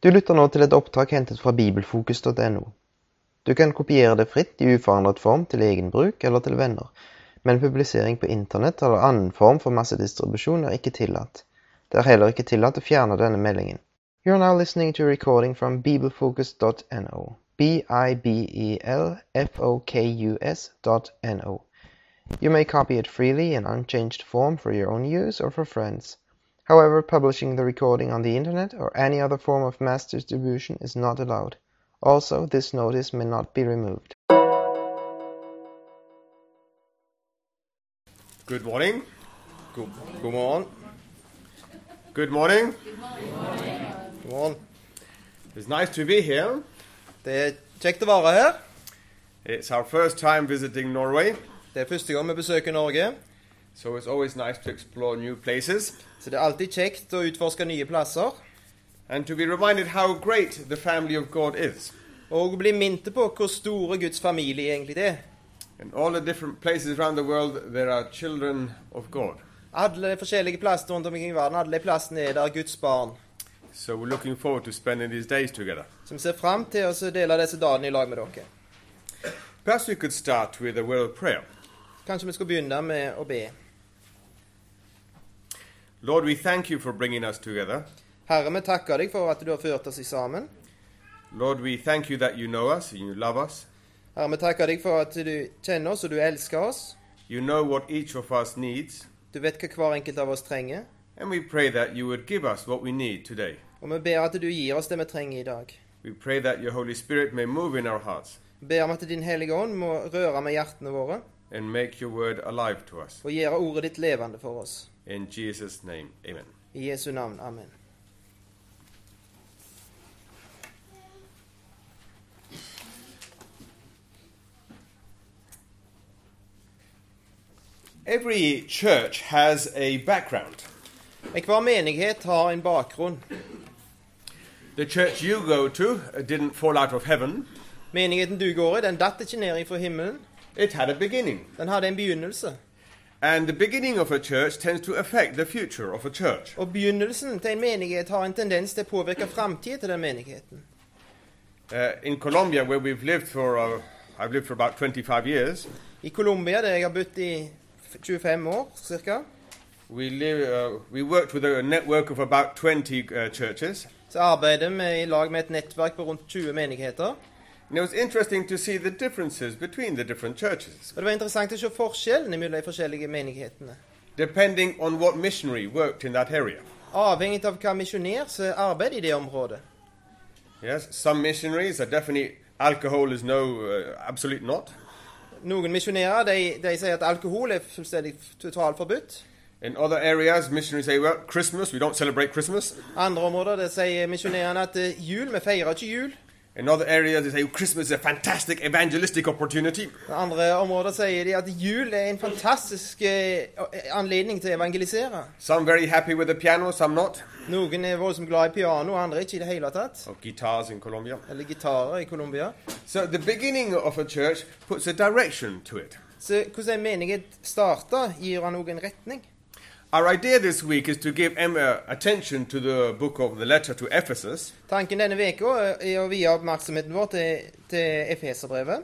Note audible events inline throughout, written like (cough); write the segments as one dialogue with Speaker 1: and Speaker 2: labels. Speaker 1: Du lytter nå til et opptak hentet fra bibelfokus.no. Du kan kopiere det fritt i uforandret form til egen bruk eller til venner, men publisering på internett eller annen form for massedistribusjon er ikke tillatt. Det er heller ikke tillatt å fjerne denne meldingen. You are now listening to a recording from bibelfocus.no. E B-I-B-E-L-F-O-K-U-S dot N-O. You may copy it freely in unchanged form for your own use or for friends. However, publishing the recording on the internet or any other form of mass distribution is not allowed. Also, this notice may not be removed.
Speaker 2: Good morning. God, god morgen. Good morning. Good morning. It's nice to be here.
Speaker 3: Det er kjekt å være her.
Speaker 2: It's our first time visiting Norway,
Speaker 3: Det er første gang vi besøker Norge,
Speaker 2: so it's always nice to explore new places
Speaker 3: så det er alltid kjekt å utforske nye plasser.
Speaker 2: and to be reminded how great the family of God is.
Speaker 3: Og bli minte på hvor store Guds familie egentlig er.
Speaker 2: In all the different places around the world, there are children of God.
Speaker 3: Alle de forskjellige plassene rundt omkring i verden, alle de plassene er der Guds barn.
Speaker 2: So we're looking forward to spending these days together.
Speaker 3: Som ser fram til å så dele disse dagene i lag med dere.
Speaker 2: Perhaps we could start with a word of prayer.
Speaker 3: Kanskje vi skal begynne med å be.
Speaker 2: Lord, we thank you for bringing us together.
Speaker 3: Herre, vi takker deg for at du har ført oss i sammen.
Speaker 2: Lord, we thank you that you know us and you love us.
Speaker 3: Herre, vi takker deg for at du kjenner oss og du elsker oss.
Speaker 2: You know what each of us needs,
Speaker 3: Du vet hva hver enkelt av oss trenger.
Speaker 2: and we pray that you would give us what we need today.
Speaker 3: Og vi ber at du gir oss det vi trenger i dag.
Speaker 2: We pray that your Holy Spirit may move in our hearts
Speaker 3: Ber om at Din Hellige Ånd må røre med hjertene våre.
Speaker 2: and make your word alive to us.
Speaker 3: og gjøre ordet ditt levende for oss.
Speaker 2: In Jesus' name, amen.
Speaker 3: I Jesu navn. Amen.
Speaker 2: Every church has a background.
Speaker 3: Enhver menighet har en bakgrunn.
Speaker 2: The church you go to uh, didn't fall out of heaven,
Speaker 3: Menigheten du går i, den datt ikke ned fra himmelen.
Speaker 2: it had a beginning.
Speaker 3: Den hadde en begynnelse.
Speaker 2: And the beginning of a church tends to affect the future of a church.
Speaker 3: Og begynnelsen til en menighet har en tendens til å påvirke framtida til den menigheten.
Speaker 2: Uh, in Colombia, where we've lived for, uh, I've lived for about 25 years,
Speaker 3: I Colombia, der jeg har bodd i f- 25 år ca.,
Speaker 2: we, live, uh, we worked with a network of about 20 uh, churches.
Speaker 3: så arbeider vi i lag med et nettverk på rundt 20 menigheter.
Speaker 2: And it was interesting to see the differences between the different churches,
Speaker 3: Og det var interessant å se forskjellen mellom de forskjellige menighetene.
Speaker 2: depending on what missionary worked in that area.
Speaker 3: Avhengig av hva misjonær som arbeider i det området.
Speaker 2: Yes, some missionaries are definitely alcohol is no uh, absolute not.
Speaker 3: Noen misjonærer de, de sier at alkohol er fullstendig totalt forbudt.
Speaker 2: In other areas, missionaries say, well, Christmas, we don't celebrate Christmas.
Speaker 3: Andre områder der sier misjonærene at eh, jul, vi feirer ikke jul.
Speaker 2: In other areas, they say "Oh, Christmas is a fantastic evangelistic opportunity.
Speaker 3: Andre områder sier de at jul er en fantastisk eh, anledning til å evangelisere.
Speaker 2: Some very happy with the piano, some not.
Speaker 3: Noen er voldsomt glad i piano, andre ikke i det hele tatt.
Speaker 2: Or guitars in Colombia.
Speaker 3: Eller gitarer i Colombia.
Speaker 2: So the beginning of a church puts a direction to it.
Speaker 3: Så hvordan en menighet starter, gir han også en retning.
Speaker 2: Our idea this week is to give em- uh, attention to the book of the letter to Ephesus.
Speaker 3: Tanken denne uka er å vie oppmerksomheten vår til, til Efeserbrevet.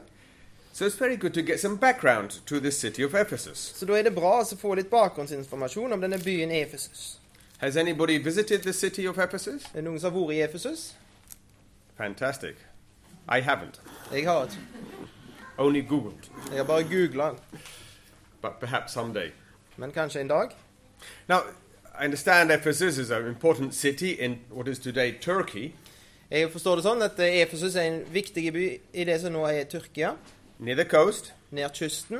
Speaker 2: So it's very good to get some background to the city of Ephesus.
Speaker 3: Så da er det bra å få litt bakgrunnsinformasjon om denne byen Efesus.
Speaker 2: Has anybody visited the city of Ephesus?
Speaker 3: Er det noen som har vært i Efesus?
Speaker 2: Fantastic. I haven't,
Speaker 3: Jeg har ikke.
Speaker 2: only Googled,
Speaker 3: Jeg har bare googla den.
Speaker 2: but perhaps someday.
Speaker 3: Men kanskje en dag.
Speaker 2: Now, I understand Ephesus is an important city in what is today Turkey,
Speaker 3: Jeg forstår det sånn at eh, Efesus er en viktig by i det som nå er Tyrkia,
Speaker 2: near the coast,
Speaker 3: nær kysten.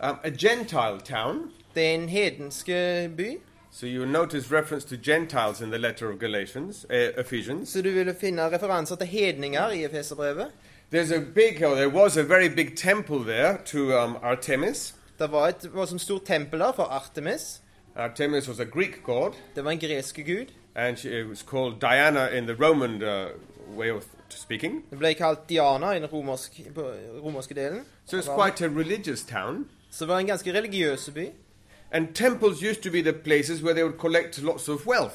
Speaker 2: um, a Gentile town.
Speaker 3: Det er en hedenske by,
Speaker 2: So you'll notice reference to Gentiles in the letter of Galatians, uh, Ephesians.
Speaker 3: så du vil finne referanser til hedninger i Efeserbrevet.
Speaker 2: There's a big, or there was a very big temple there to um, Artemis.
Speaker 3: Det var et var som stort tempel der for Artemis.
Speaker 2: Artemis was a Greek god,
Speaker 3: Det var en gresk gud.
Speaker 2: and she it was called Diana in the Roman uh, way of speaking.
Speaker 3: Det ble kalt Diana i den romersk, på romerske delen.
Speaker 2: So it's quite a religious town.
Speaker 3: Så det var en ganske religiøs by.
Speaker 2: And temples used to be the places where they would collect lots of wealth.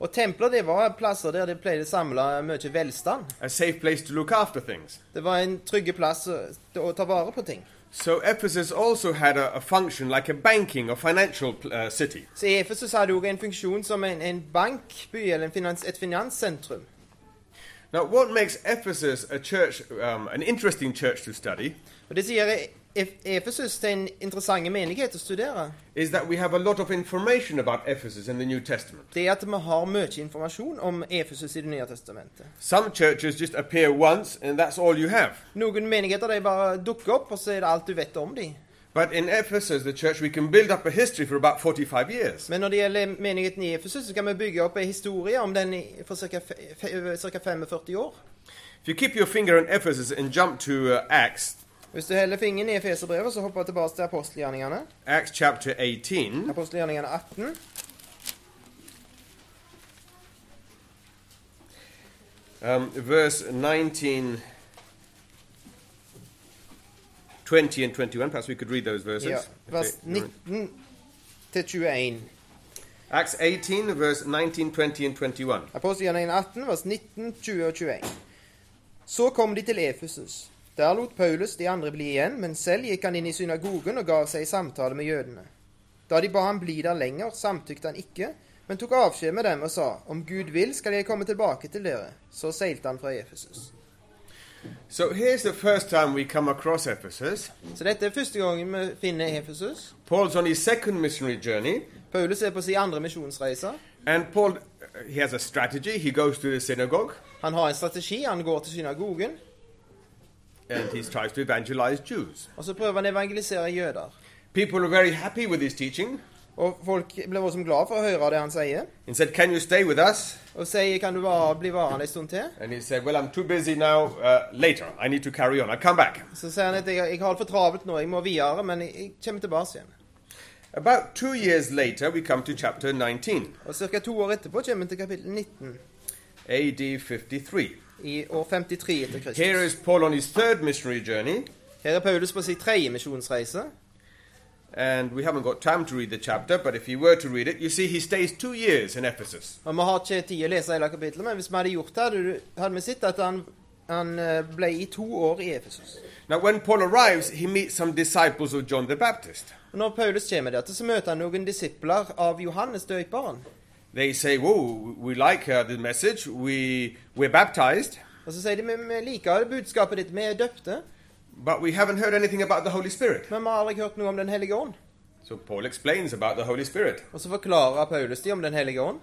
Speaker 3: Og templer det var plasser der de pleide å samle mye velstand.
Speaker 2: a safe place to look after things.
Speaker 3: Det var en trygge plass å, å ta vare på ting.
Speaker 2: So Ephesus also had a, a function like a banking or financial uh, city.
Speaker 3: Så i Efesus hadde jo en funksjon som en, en bankby eller en finans, et finanssentrum.
Speaker 2: Now, what makes Ephesus a church, um, an interesting church to study,
Speaker 3: Og Det sier Ef- Efesus til en interessant menighet å studere.
Speaker 2: is that we have a lot of information about Ephesus in the New Testament.
Speaker 3: Det er at vi har mye informasjon om Efesus i Det nye testamentet.
Speaker 2: Some churches just appear once and that's all you have.
Speaker 3: Noen menigheter de bare dukker opp, og så er det alt du vet om dem.
Speaker 2: But in Ephesus, the church, we can build up a history for about 45 years.
Speaker 3: Men når det gjelder menigheten i Efesus, så kan vi bygge opp en historie om den i- for ca. 45 år.
Speaker 2: If you keep your finger on Ephesus and jump to uh, Acts,
Speaker 3: Hvis du heller fingeren i Efeserbrevet, så hopper jeg tilbake til apostelgjerningene.
Speaker 2: Acts chapter 18,
Speaker 3: Apostelgjerningene 18.
Speaker 2: um, verse 19, 20 and 21. Perhaps we could read those verses.
Speaker 3: Ja,
Speaker 2: if
Speaker 3: vers
Speaker 2: they-
Speaker 3: 19 til 21.
Speaker 2: Acts 18, verse 19, 20 and 21.
Speaker 3: Apostelgjerningen 18, vers 19, 20 og 21. Så kom de til Efesus. Der lot Paulus de andre bli igjen, men selv gikk han inn i synagogen og gav seg i samtale med jødene. Da de ba ham bli der lenger, samtykte han ikke, men tok avskjed med dem og sa, om Gud vil, skal jeg komme tilbake til dere. Så seilte han fra Efesus.
Speaker 2: So here's the first time we come across Ephesus.
Speaker 3: Så dette er første gangen vi finner Efesus.
Speaker 2: Paul's on his second missionary journey,
Speaker 3: Paulus er på sin andre misjonsreise.
Speaker 2: and Paul uh, he has a strategy. He goes to the synagogue
Speaker 3: Han har en strategi. Han går til synagogen,
Speaker 2: and he tries to evangelize Jews.
Speaker 3: og så prøver han å evangelisere jøder.
Speaker 2: People are very happy with his teaching
Speaker 3: Og folk blir voldsomt glad for å høre det han sier.
Speaker 2: and said, "Can you stay with us?"
Speaker 3: Og sier 'Kan du bare bli værende en stund til?'
Speaker 2: And he said, "Well, I'm too busy now. Uh, later, I need to carry on. I'll come back."
Speaker 3: Så sier han at 'Jeg, jeg har det for travelt nå, jeg må videre, men jeg, jeg kommer tilbake igjen'.
Speaker 2: About two years later, we come to chapter 19,
Speaker 3: Og ca. to år etterpå kommer han til kapittel 19,
Speaker 2: A.D. 53.
Speaker 3: i år 53 etter
Speaker 2: Here
Speaker 3: Kristus.
Speaker 2: is Paul on his third missionary journey,
Speaker 3: Her er Paulus på sin tredje misjonsreise.
Speaker 2: and we haven't got time to read the chapter. But if you were to read it, you see he stays two years in Ephesus.
Speaker 3: Og Vi har ikke tid å lese hele kapittelet, men hvis vi hadde gjort det, hadde, du- hadde vi sett at han, han eh, ble i to år i Efesus.
Speaker 2: Now, when Paul arrives, he meets some disciples of John the Baptist.
Speaker 3: Og Når Paulus kommer der, så møter han noen disipler av Johannes døperen.
Speaker 2: They say, "Whoa, we like uh, the message. We we're baptized,
Speaker 3: Og så sier de «Vi- vi liker budskapet ditt, vi er døpte,
Speaker 2: but we haven't heard anything about the Holy Spirit."
Speaker 3: men vi har aldri hørt noe om Den hellige ånd.
Speaker 2: So Paul explains about the Holy Spirit.
Speaker 3: Og så forklarer Paulus de om Den hellige ånd.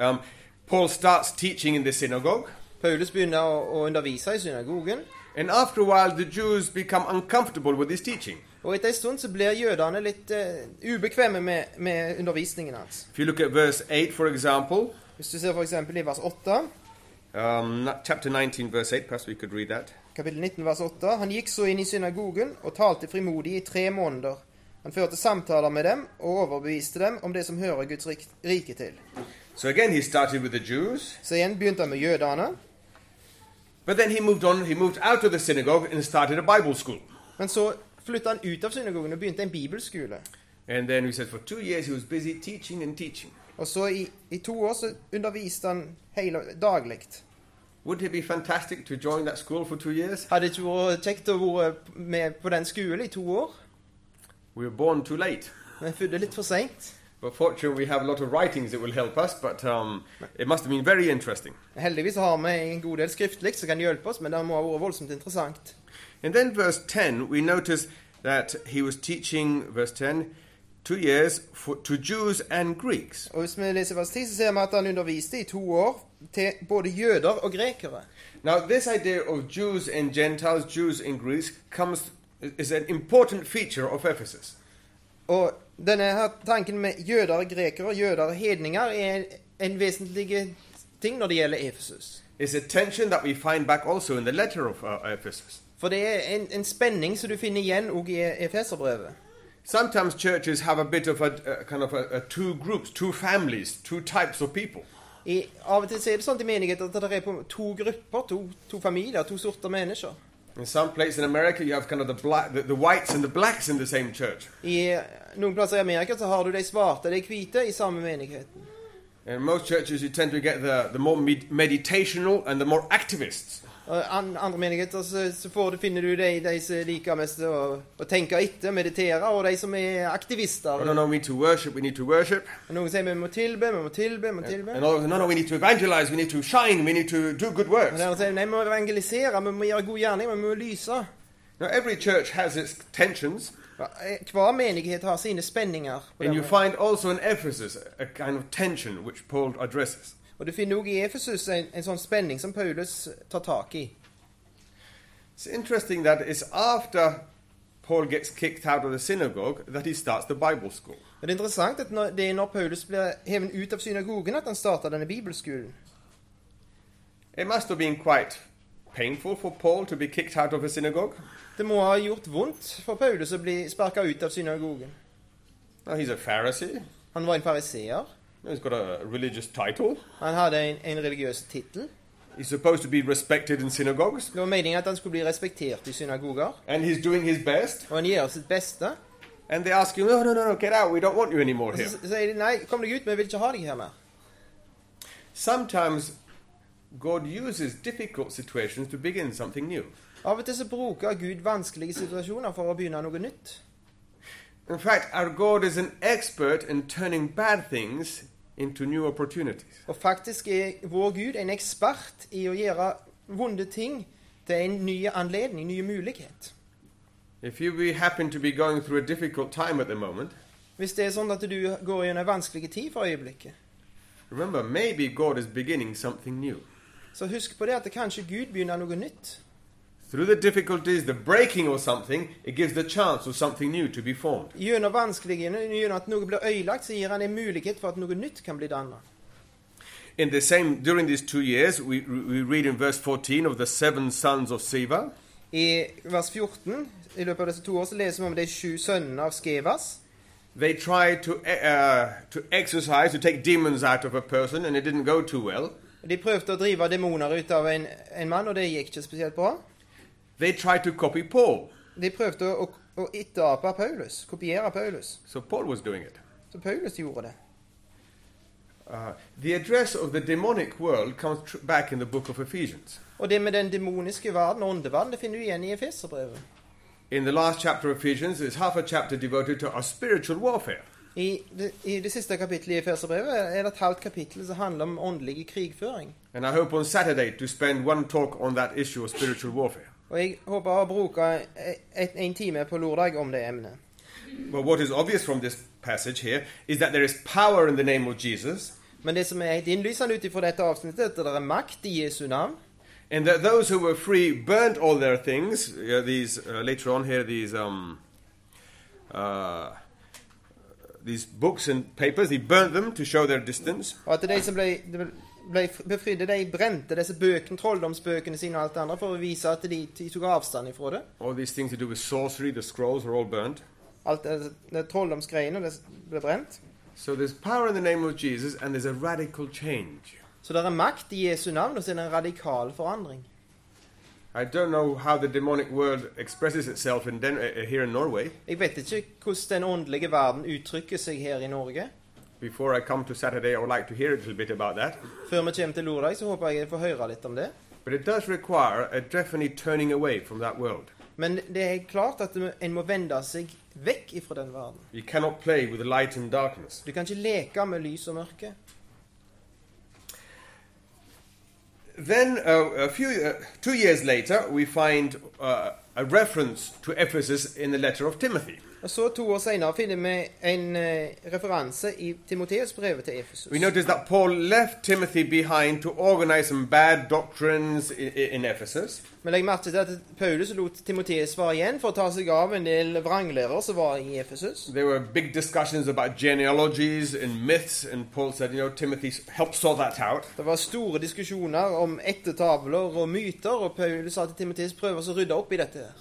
Speaker 2: Um, Paul starts teaching in the synagogue,
Speaker 3: Paulus begynner å, å undervise i synagogen,
Speaker 2: and after a while, the Jews become uncomfortable with his teaching.
Speaker 3: og etter en stund så blir jødene litt eh, ubekvemme med, med undervisningen hans.
Speaker 2: If you look at verse 8, for example,
Speaker 3: Hvis du ser f.eks. i vers 8,
Speaker 2: um, chapter 19, verse 8, perhaps we could read that.
Speaker 3: kapittel 19, vers 8 Han gikk så inn i synagogen og talte frimodig i tre måneder. Han førte samtaler med dem og overbeviste dem om det som hører Guds rik- rike til.
Speaker 2: So again, he started with the Jews,
Speaker 3: Så igjen begynte han med jødene.
Speaker 2: but then he moved on, he moved out of the synagogue and started a Bible school.
Speaker 3: Men så flytta han ut av synagogen og begynte en bibelskole.
Speaker 2: And then he says, for two years, he was busy teaching and teaching.
Speaker 3: Og så i, i to år så underviste han hele daglig.
Speaker 2: Would it be fantastic to join that school for two years?
Speaker 3: Hadde ikke vært kjekt å være med på den skolen i to år.
Speaker 2: We were born too late.
Speaker 3: Men jeg fødte litt for seint.
Speaker 2: But fortunately, we have a lot of writings that will help us, but um, it must have been very interesting.
Speaker 3: Heldigvis har vi en god del skriftlig som kan hjelpe oss, men det må ha vært voldsomt interessant.
Speaker 2: And then verse 10, we notice that he was teaching, verse 10, two years for, to Jews and Greeks.
Speaker 3: Og hvis vi leser vers 10, så ser vi at han underviste i to år til både jøder og grekere.
Speaker 2: Now, this idea of Jews and Gentiles, Jews and Greeks, comes is an important feature of Ephesus.
Speaker 3: Og denne her tanken med jøder og grekere, jøder og hedninger, er en, en vesentlig ting når det gjelder Efesus.
Speaker 2: It's a tension that we find back also in the letter of uh, Ephesus.
Speaker 3: For det er en, en spenning som du finner igjen òg i Efeserbrevet.
Speaker 2: Sometimes churches have a bit of a, a kind of a, a two groups, two families, two types of people.
Speaker 3: I, av og til så er det sånn i menigheter at det er på to grupper, to, to familier, to sorter mennesker.
Speaker 2: In some place in America, you have kind of the black, the, the whites and the blacks in the same church.
Speaker 3: I eh, noen plasser i Amerika så har du de svarte og de hvite i samme menigheten.
Speaker 2: In most churches, you tend to get the, the more med- meditational and the more activists.
Speaker 3: Og an, andre menigheter så, så får du, finner du de, de som liker mest å, å tenke etter, meditere, og de som er
Speaker 2: Oh,
Speaker 3: aktivister.
Speaker 2: no, no, we need to worship, we need to worship.
Speaker 3: Noen sier vi må tilbe, vi må tilbe, vi må tilbe.
Speaker 2: And others, no, no, we need to evangelize, we need to shine, we need to do good works.
Speaker 3: Og der sier de nei, vi må evangelisere, vi må gjøre god gjerning, vi må lyse.
Speaker 2: Now, every church has its tensions,
Speaker 3: Ja, eh, Hver menighet har sine spenninger. på
Speaker 2: and
Speaker 3: den
Speaker 2: you
Speaker 3: måten.
Speaker 2: find also in Ephesus a kind of tension which Paul addresses.
Speaker 3: Og du finner også i Efesus en, en sånn spenning som Paulus tar tak i.
Speaker 2: It's interesting that it's after Paul gets kicked out of the synagogue that he starts the Bible school.
Speaker 3: Og det er interessant at når, det er når Paulus blir hevet ut av synagogen at han starter denne bibelskolen.
Speaker 2: It must have been quite painful for Paul to be kicked out of a synagogue.
Speaker 3: Det må ha gjort vondt for Paulus å bli sparka ut av synagogen.
Speaker 2: Now, he's a Pharisee,
Speaker 3: Han var en fariseer.
Speaker 2: he's got a religious title.
Speaker 3: Han hadde en, en religiøs tittel.
Speaker 2: He's supposed to be respected in synagogues,
Speaker 3: Det var meningen at han skulle bli respektert i synagoger.
Speaker 2: and he's doing his best.
Speaker 3: Og han gjør sitt beste.
Speaker 2: And they ask him, no, no, no, no, get out, we don't want you anymore
Speaker 3: Og
Speaker 2: here.
Speaker 3: så så sier de nei, kom deg ut, vi vil ikke ha deg her mer.
Speaker 2: Sometimes God uses difficult situations to begin something new.
Speaker 3: Av og til så bruker Gud vanskelige situasjoner for å begynne noe nytt.
Speaker 2: In fact, our God is an expert in turning bad things into new opportunities.
Speaker 3: Og faktisk er vår Gud en ekspert i å gjøre vonde ting til en ny anledning, ny mulighet.
Speaker 2: If you we happen to be going through a difficult time at the moment,
Speaker 3: Hvis det er sånn at du går gjennom en vanskelig tid for øyeblikket,
Speaker 2: remember maybe God is beginning something new.
Speaker 3: så husk på det at kanskje Gud begynner noe nytt.
Speaker 2: Through the difficulties, the breaking or something, it gives the chance of something new to be formed.
Speaker 3: Gjennom vanskelighetene, gjennom at noe blir ødelagt, så gir han en mulighet for at noe nytt kan bli dannet.
Speaker 2: In the same during these two years, we, we read in verse 14 of the seven sons of Siva.
Speaker 3: I vers 14 i løpet av disse to år så leser vi om de sju sønnene av Skevas.
Speaker 2: They tried to uh, to exercise to take demons out of a person, and it didn't go too well.
Speaker 3: De prøvde å drive demoner ut av en, en mann, og det gikk ikke spesielt bra.
Speaker 2: They tried to copy Paul,
Speaker 3: De prøvde å, å etterape Paulus, kopiere Paulus.
Speaker 2: so Paul was doing it.
Speaker 3: Så Paulus gjorde det.
Speaker 2: Uh, the address of the demonic world comes tr- back in the book of Ephesians.
Speaker 3: Og det med den demoniske verden og åndeverden, det finner du igjen i Efeserbrevet.
Speaker 2: In the last chapter of Ephesians, there's half a chapter devoted to our spiritual warfare.
Speaker 3: I det, I det siste kapittelet i Efeserbrevet er det et halvt kapittel som handler om åndelig krigføring.
Speaker 2: And I hope on Saturday to spend one talk on that issue of spiritual warfare.
Speaker 3: Og jeg håper å bruke et, en time på lørdag om det emnet.
Speaker 2: Well, what is obvious from this passage here is that there is power in the name of Jesus,
Speaker 3: Men det som er helt innlysende ut ifra dette avsnittet, er at det er makt i Jesu navn.
Speaker 2: and that those who were free burnt all their things. Uh, these uh, later on here, these um, uh, these books and papers, they burnt them to show their distance.
Speaker 3: Og at de som ble, de ble befridde, de brente disse bøkene, trolldomsbøkene sine og alt det andre, for å vise at de, de tok avstand ifra det.
Speaker 2: All these things to do with sorcery, the scrolls were all burnt.
Speaker 3: Alt det, det trolldomsgreiene det ble brent.
Speaker 2: So there's power in the name of Jesus, and there's a radical change.
Speaker 3: Så det er makt i Jesu navn, og så er det en radikal forandring.
Speaker 2: I don't know how the demonic world expresses itself in Den- uh, here in Norway.
Speaker 3: Jeg vet ikke hvordan den åndelige verden uttrykker seg her i Norge.
Speaker 2: Before I come to Saturday, I would like to hear a little bit about that.
Speaker 3: Før vi kommer til lørdag, så håper jeg jeg får høre litt om det.
Speaker 2: But it does require a definite turning away from that world.
Speaker 3: Men det er klart at en må vende seg vekk ifra den verden.
Speaker 2: You cannot play with light and darkness.
Speaker 3: Du kan ikke leke med lys og mørke.
Speaker 2: Then, uh, a few, uh, two years later, we find uh, a reference to Ephesus in the letter of Timothy.
Speaker 3: Og så To år senere finner vi en eh, referanse i Timoteus-brevet til Efesus.
Speaker 2: We notice that Paul left Timothy behind to organize some bad doctrines i- i- in Ephesus.
Speaker 3: Men legg merke til at Paulus lot Timoteus være igjen for å ta seg av en del vranglærer som var i Efesus.
Speaker 2: There were big discussions about genealogies and myths, and Paul said, you know, Timothy, help sort that out.
Speaker 3: Det var store diskusjoner om ettertavler og myter, og Paulus sa til Timoteus prøver å rydde opp i dette. her.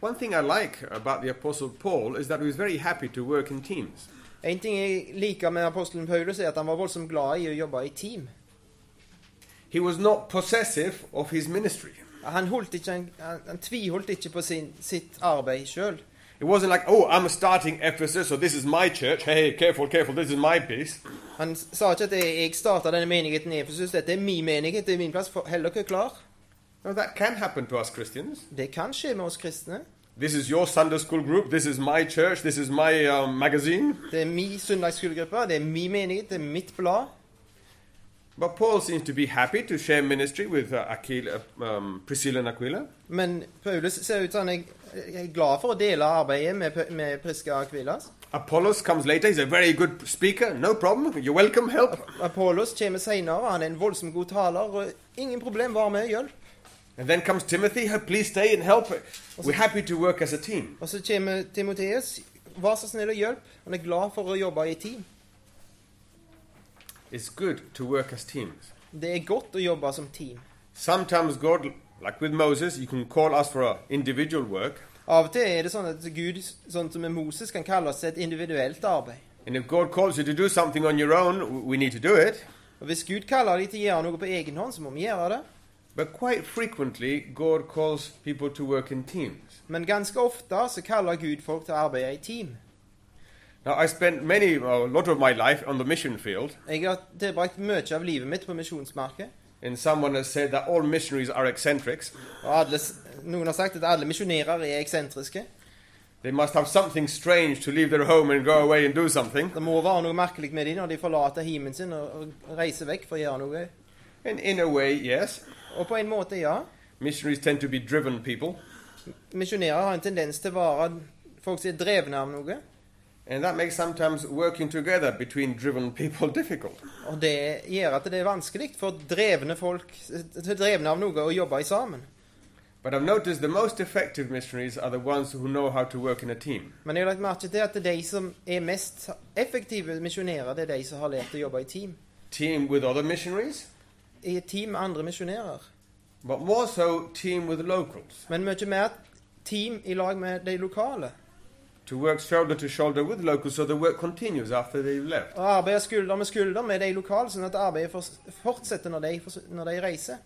Speaker 2: One thing I like about the Apostle Paul is that he was very happy to work in teams.
Speaker 3: En ting jeg liker med apostelen Paulus, er at han var voldsomt glad i å jobbe i team.
Speaker 2: He was not possessive of his ministry.
Speaker 3: Han, holdt ikke, han, han, han tviholdt ikke på sin, sitt arbeid sjøl.
Speaker 2: It wasn't like, oh, I'm starting Ephesus, so this is my church. Hey, careful, careful, this is my piece.
Speaker 3: Han s- sa ikke at jeg jeg starta denne menigheten i Efesus. Dette er min menighet, det er min plass. For- Hold dere klar.
Speaker 2: Now, that can happen to us Christians.
Speaker 3: Det kan skje med oss kristne.
Speaker 2: This is your Sunday school group, this is my church, this is my um, magazine.
Speaker 3: Det er min søndagsskolegruppe, det er min menighet, det er mitt blad.
Speaker 2: But Paul seems to be happy to share ministry with uh, Aquila, um, Priscilla and Aquila.
Speaker 3: Men Paulus ser ut som han er, er glad for å dele arbeidet med, P- med Priska Akvilas.
Speaker 2: Apollos comes later, he's a very good speaker, no problem, you're welcome, help.
Speaker 3: Apollos kommer senere, han er en voldsomt god taler. og Ingen problem, var med, hjelp.
Speaker 2: And then comes Timothy, "Hey, please stay and help. We're happy to work as a team.
Speaker 3: Og så kommer Timoteus. Vær så snill og hjelp. Han er glad for å jobbe i team.
Speaker 2: It's good to work as teams.
Speaker 3: Det er godt å jobbe som team.
Speaker 2: Sometimes God, like with Moses, you can call us for our individual work.
Speaker 3: Av og til er det sånn at Gud, sånn som med Moses, kan kalle oss til et individuelt arbeid.
Speaker 2: And if God calls you to do something on your own, w- we need to do it.
Speaker 3: Og Hvis Gud kaller deg til å gjøre noe på egen hånd, så må vi gjøre det.
Speaker 2: But quite frequently, God calls people to work in teams.
Speaker 3: Men ganske ofte så kaller Gud folk til å arbeide i team.
Speaker 2: Now, I spent many, a lot of my life on the mission field,
Speaker 3: Jeg har tilbrakt mye av livet mitt på misjonsmarkedet.
Speaker 2: and someone has said that all missionaries are eccentrics.
Speaker 3: Og alle, s- noen har sagt at alle misjonærer er eksentriske.
Speaker 2: They must have something strange to leave their home and go away and do something.
Speaker 3: Det må være noe merkelig med dem når de forlater heimen sin og, og reiser vekk for å gjøre noe.
Speaker 2: And in a way, yes,
Speaker 3: Og på en måte, ja.
Speaker 2: missionaries tend to be driven people,
Speaker 3: Misjonærer har en tendens til å være folk som er drevne av noe.
Speaker 2: and that makes sometimes working together between driven people (laughs) difficult.
Speaker 3: Og det gjør at det er vanskelig for drevne folk til drevne av noe å jobbe i sammen.
Speaker 2: But I've noticed the most effective missionaries are the ones who know how to work in a team.
Speaker 3: Men jeg har lagt merke til at de som er mest effektive misjonærer, det er de som har lært å jobbe i team.
Speaker 2: Team with other missionaries,
Speaker 3: I et team med andre misjonærer.
Speaker 2: but more so team with locals,
Speaker 3: Men mye mer team i lag med de lokale.
Speaker 2: to work shoulder to shoulder with locals so the work continues after they've left.
Speaker 3: Og arbeide skulder med skulder med de lokale, sånn at arbeidet fors- fortsetter når de, fors- når de reiser.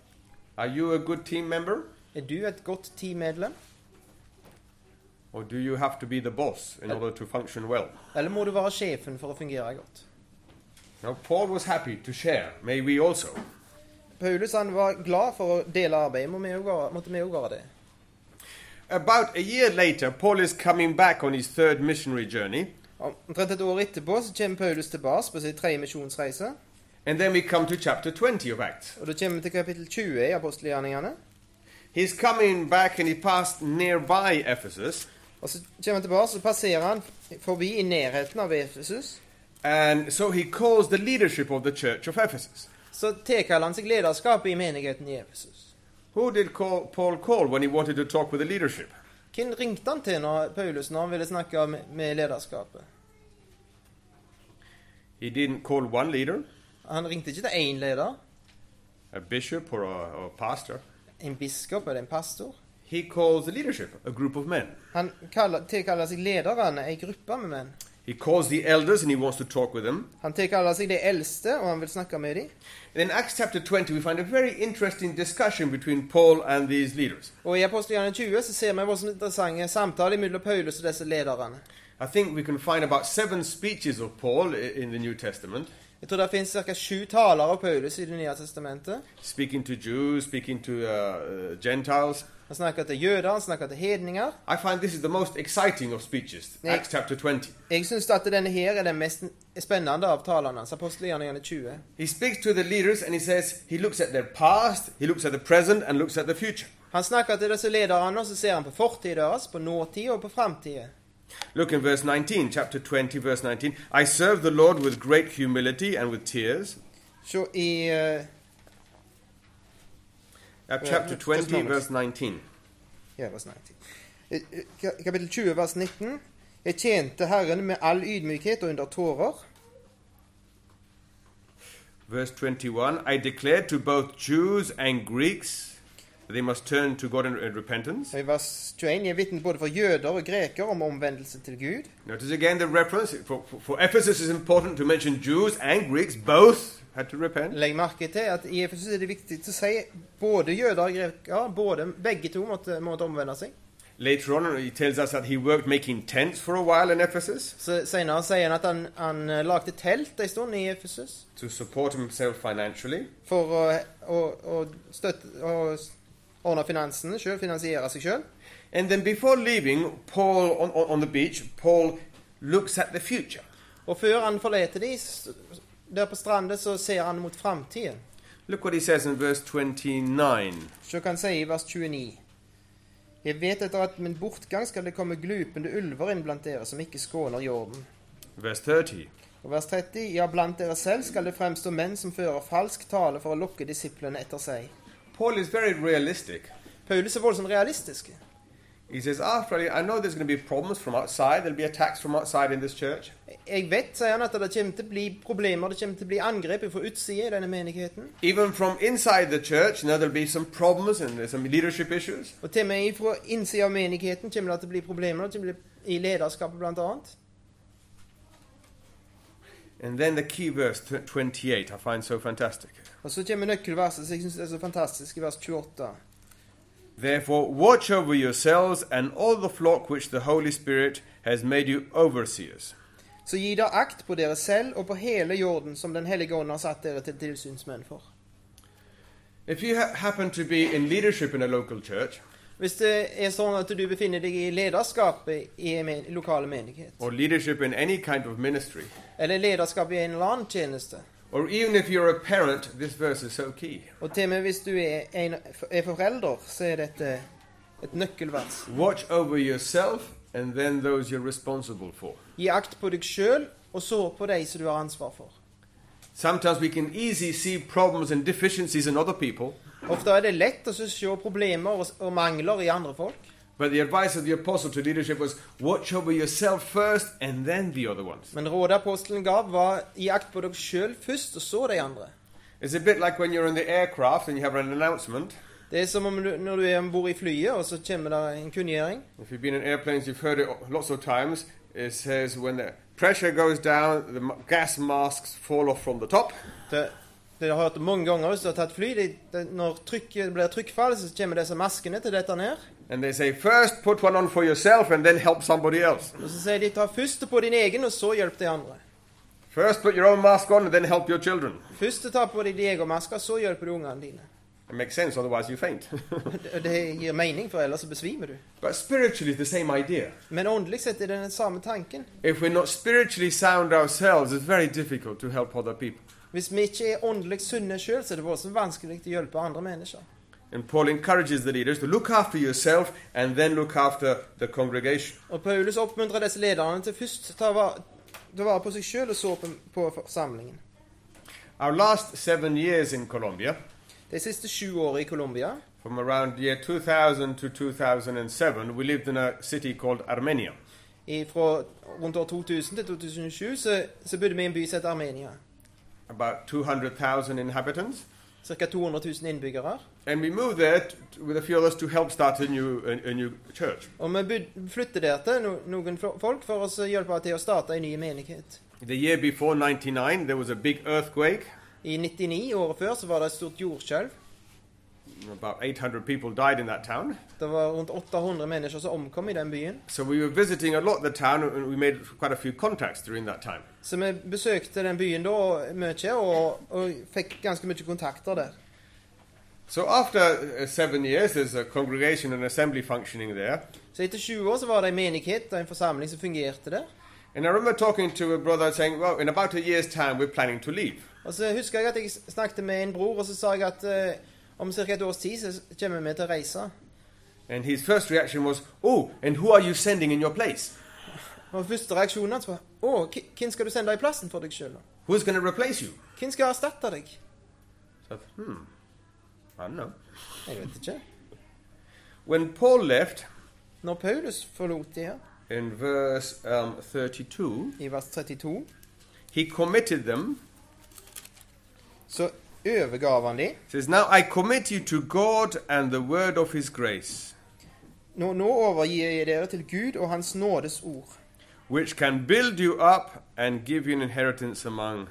Speaker 2: Are you a good team member,
Speaker 3: Er du et godt teammedlem,
Speaker 2: or do you have to be the boss in order to function well?
Speaker 3: eller må du være sjefen for å fungere godt?
Speaker 2: Now, Paul was happy to share, may we also.
Speaker 3: Paulus han var glad for å dele arbeidet, må vi jo gjøre- måtte vi òg gjøre det.
Speaker 2: About a year later, Paul is coming back on his third missionary journey,
Speaker 3: Omtrent et år etterpå så kommer Paulus tilbake på sin tredje misjonsreise.
Speaker 2: and then we come to chapter 20 of Acts.
Speaker 3: Og da kommer vi til kapittel 20 i apostelgjerningene.
Speaker 2: He's coming back and he passed nearby Ephesus,
Speaker 3: Og så kommer han tilbake, så passerer han forbi i nærheten av Efesus.
Speaker 2: and so he calls the leadership of the church of Ephesus.
Speaker 3: Så tilkaller han seg lederskapet i menigheten i Efesus.
Speaker 2: Who did call, Paul call when he wanted to talk with the leadership?
Speaker 3: Hvem ringte han til når Paulus når han ville snakke med, med lederskapet?
Speaker 2: He didn't call one leader,
Speaker 3: Han ringte ikke til én leder,
Speaker 2: a bishop or a, or a pastor.
Speaker 3: en biskop eller en pastor.
Speaker 2: He calls the leadership, a group of men.
Speaker 3: Han kaller, tilkaller seg lederne, ei gruppe med menn.
Speaker 2: He calls the elders and he wants to talk with them.
Speaker 3: Han tilkaller seg de eldste, og han vil snakke med dem.
Speaker 2: And in Acts chapter 20, we find a very interesting discussion between Paul and these leaders.
Speaker 3: Og i apostelgjerne 20 så ser vi hvordan interessante samtaler mellom Paulus og disse lederne.
Speaker 2: I think we can find about seven speeches of Paul i- in the New Testament,
Speaker 3: Jeg tror det finnes ca. sju taler av Paulus i Det nye testamentet.
Speaker 2: speaking to Jews, speaking to uh, uh, Gentiles.
Speaker 3: Han snakker til jøder, han snakker til hedninger.
Speaker 2: I find this is the most exciting of speeches,
Speaker 3: Yeah.
Speaker 2: Acts chapter 20.
Speaker 3: Jeg syns at denne her er den mest spennende av talene hans. Apostelgjerningene 20.
Speaker 2: He speaks to the leaders and he says he looks at their past, he looks at the present, and looks at the future.
Speaker 3: Han snakker til disse lederne, og så ser han på fortiden deres, på nåtiden og på framtiden.
Speaker 2: Look in verse 19, chapter 20, verse 19. I serve the Lord with great humility and with tears.
Speaker 3: Se i eh,
Speaker 2: Uh,
Speaker 3: Yeah,
Speaker 2: chapter
Speaker 3: just
Speaker 2: 20,
Speaker 3: moment.
Speaker 2: verse 19.
Speaker 3: Ja, vers 19. Eh, eh, ka- Kapittel 20, vers 19. Jeg tjente Herren med all ydmykhet og under tårer.
Speaker 2: Verse 21 I declare to both Jews and Greeks that they must turn to God in, in repentance.
Speaker 3: Og I vers 21 jeg vitne både for jøder og greker om omvendelse til Gud.
Speaker 2: Notice again the reference. For, for, for Ephesus, it's important to mention Jews and Greeks both had to repent.
Speaker 3: Legg merke til at i Efesus er det viktig å si både jøder og greker, både, begge to måtte, måtte omvende seg.
Speaker 2: Later on, he tells us that he worked making tents for a while in Ephesus
Speaker 3: Så Senere sier han at han, han eh, lagde telt en stund i Efesus
Speaker 2: to support himself financially.
Speaker 3: for å, å, å støtte å s- ordne finansene sjøl, finansiere seg sjøl.
Speaker 2: And then before leaving, Paul, on, on, on the beach, Paul looks at the future.
Speaker 3: Og før han forlater de, s- der på stranda, så ser han mot framtiden.
Speaker 2: Look what he says in verse 29.
Speaker 3: Så kan han si i vers 29 Jeg vet etter at min bortgang skal det komme glupende ulver inn blant dere som ikke skåner jorden.
Speaker 2: Verse 30.
Speaker 3: Og vers 30 Ja, blant dere selv skal det fremstå menn som fører falsk tale for å lokke disiplene etter seg.
Speaker 2: Paul is very realistic.
Speaker 3: Paulus er voldsomt realistisk.
Speaker 2: He says, after I know there's going to be problems from outside, there'll be attacks from outside in this church.
Speaker 3: Jeg vet, sier han, at det kommer til å bli problemer, det kommer til å bli angrep fra utsida i denne menigheten.
Speaker 2: Even from inside the church, you know, there'll be some problems and there's some leadership issues.
Speaker 3: Og til og med fra innsida av menigheten kommer det til å bli problemer, det kommer til å bli i lederskapet blant annet.
Speaker 2: And then the key verse, tw- 28, I find so fantastic.
Speaker 3: Og så kommer nøkkelverset som jeg syns er så fantastisk, i vers 28.
Speaker 2: Therefore, watch over yourselves and all the flock which the Holy Spirit has made you overseers.
Speaker 3: Så gi der akt på dere selv og på hele jorden som Den hellige ånd har satt dere til tilsynsmenn for.
Speaker 2: If you ha- happen to be in leadership in a local church,
Speaker 3: Hvis det er sånn at du befinner deg i lederskapet i en men- lokale menighet,
Speaker 2: or leadership in any kind of ministry,
Speaker 3: eller lederskap i en eller annen tjeneste,
Speaker 2: or even if you're a parent, this verse is so key.
Speaker 3: og til og med hvis du er, en, er forelder, så er dette et nøkkelvers.
Speaker 2: Watch over yourself and then those you're responsible for.
Speaker 3: Gi akt på deg sjøl, og så på de som du har ansvar for.
Speaker 2: Sometimes we can easily see problems and deficiencies in other people,
Speaker 3: Ofte er det lett å se problemer og, og mangler i andre folk,
Speaker 2: but the advice of the apostle to leadership was watch over yourself first and then the other ones.
Speaker 3: men rådet apostelen gav, var gi akt på deg sjøl først, og så de andre.
Speaker 2: It's a bit like when you're in the aircraft and you have an announcement.
Speaker 3: Det er som om du, når du er om bord i flyet, og så kommer det en kunngjøring.
Speaker 2: If you've been in airplanes, you've heard it lots of times. It says when the pressure goes down, the m- gas masks fall off from the top.
Speaker 3: Det, det har jeg hørt mange ganger hvis du har tatt fly. Det, det, når trykket blir trykkfall, så kommer disse maskene til dette ned.
Speaker 2: And they say, first put one on for yourself and then help somebody else.
Speaker 3: Og så sier de ta først på din egen, og så hjelp de andre.
Speaker 2: First put your own mask on and then help your children.
Speaker 3: Først ta på deg din egen maske, og så hjelper du ungene dine.
Speaker 2: It makes sense, otherwise you faint. (laughs)
Speaker 3: Det, det gir mening, for ellers så besvimer du.
Speaker 2: but spiritually, it's the same idea.
Speaker 3: Men åndelig sett er det den samme tanken.
Speaker 2: If we're not spiritually sound ourselves, it's very difficult to help other people.
Speaker 3: Hvis vi ikke er åndelig sunne sjøl, så er det voldsomt vanskelig å hjelpe andre mennesker.
Speaker 2: And Paul encourages the leaders to look after yourself and then look after the congregation.
Speaker 3: Og Paulus oppmuntrer disse lederne til først ta vare, ta vare på seg sjøl, og så på, på forsamlingen.
Speaker 2: Our last seven years in Colombia,
Speaker 3: De siste sju årene i Colombia
Speaker 2: from around year 2000 to 2007, we lived in a city called Armenia.
Speaker 3: I- Fra rundt år 2000 til 2007 så, så bodde vi i en by som het Armenia.
Speaker 2: About 200,000 inhabitants.
Speaker 3: Ca. 200 000 innbyggere.
Speaker 2: And we moved there t- with a few of us to help start a new, a, a new church.
Speaker 3: Og vi byd- flyttet der til no, noen fo- folk for å så hjelpe til å starte en ny menighet.
Speaker 2: The year before 99, there was a big earthquake.
Speaker 3: I 99, året før, så var det et stort jordskjelv.
Speaker 2: About 800 people died in that town.
Speaker 3: Det var rundt 800 mennesker som omkom i den byen.
Speaker 2: So we were visiting a lot the town and we made quite a few contacts during that time.
Speaker 3: Så vi besøkte den byen da og- mye og, og fikk ganske mye kontakter der.
Speaker 2: So after uh, seven years, there's a congregation and assembly functioning there.
Speaker 3: Så etter 20 år så var det en menighet og en forsamling som fungerte der.
Speaker 2: And I remember talking to a brother saying, well, in about a year's time, we're planning to leave.
Speaker 3: Og så husker jeg at jeg snakket med en bror, og så sa jeg at eh, om ca. et års tid så kommer vi til å reise.
Speaker 2: And his first reaction was, oh, and who are you sending in your place?
Speaker 3: Og første reaksjonen hans var Å, hv- hvem skal du sende i plassen for deg sjøl, da?
Speaker 2: Who's going to replace you?
Speaker 3: Hvem skal erstatte deg?
Speaker 2: So I thought, hmm, I don't know.
Speaker 3: Jeg vet ikke.
Speaker 2: When Paul left,
Speaker 3: Når Paulus forlot de her,
Speaker 2: in verse um, 32,
Speaker 3: i vers 32,
Speaker 2: he committed them.
Speaker 3: så overgav han de.
Speaker 2: Says, now I commit you to God and the word of his grace,
Speaker 3: Nå, nå overgir jeg dere til Gud og Hans nådes ord,
Speaker 2: which can build you up and give you an inheritance among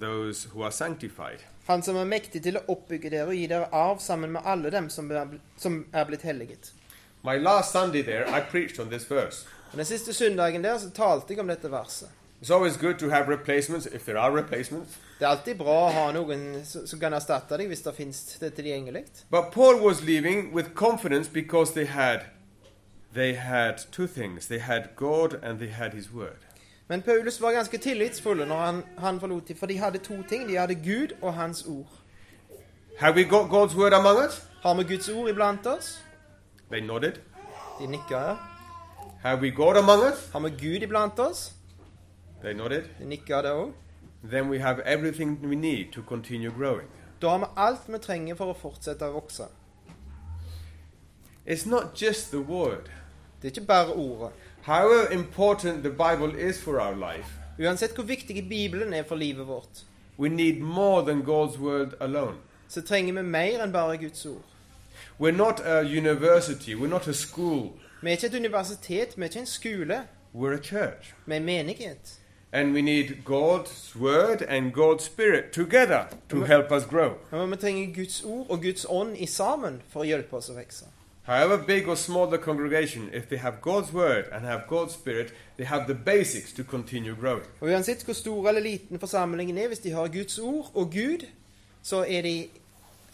Speaker 2: those who are sanctified.
Speaker 3: Han som er mektig til å oppbygge dere og gi dere arv sammen med alle dem som er, bl- som er blitt helliget.
Speaker 2: My last Sunday there, I preached on this verse.
Speaker 3: Og Den siste søndagen der så talte jeg om dette verset.
Speaker 2: It's always good to have replacements if there are replacements.
Speaker 3: Det er alltid bra å ha noen som som kan erstatte deg hvis det fins det tilgjengelig.
Speaker 2: But Paul was leaving with confidence because they had they had two things. They had God and they had his word.
Speaker 3: Men Paulus var ganske tillitsfull når han, han forlot dem, for de hadde to ting. De hadde Gud og Hans ord.
Speaker 2: Have we got God's word among us?
Speaker 3: Har vi Guds ord iblant oss?
Speaker 2: They nodded.
Speaker 3: De nikker her.
Speaker 2: Have we God among us?
Speaker 3: Har vi Gud iblant oss?
Speaker 2: They nodded.
Speaker 3: De nikker det òg.
Speaker 2: Then we have everything we need to continue growing.
Speaker 3: Da har vi alt vi trenger for å fortsette å vokse.
Speaker 2: It's not just the word.
Speaker 3: Det er ikke bare ordet.
Speaker 2: However important the Bible is for our life,
Speaker 3: Uansett hvor viktig Bibelen er for livet vårt,
Speaker 2: we need more than God's word alone.
Speaker 3: så trenger vi mer enn bare Guds ord.
Speaker 2: We're not a university, we're not a school,
Speaker 3: Vi er ikke et universitet, vi er ikke en skole.
Speaker 2: we're a church.
Speaker 3: Vi er en menighet.
Speaker 2: And we need God's word and God's spirit together to help us grow.
Speaker 3: Men vi trenger Guds ord og Guds ånd i sammen for å hjelpe oss å vokse.
Speaker 2: However big or small the congregation, if they have God's word and have God's spirit, they have the basics to continue growing.
Speaker 3: Og uansett hvor stor eller liten forsamlingen er, hvis de har Guds ord og Gud, så er de,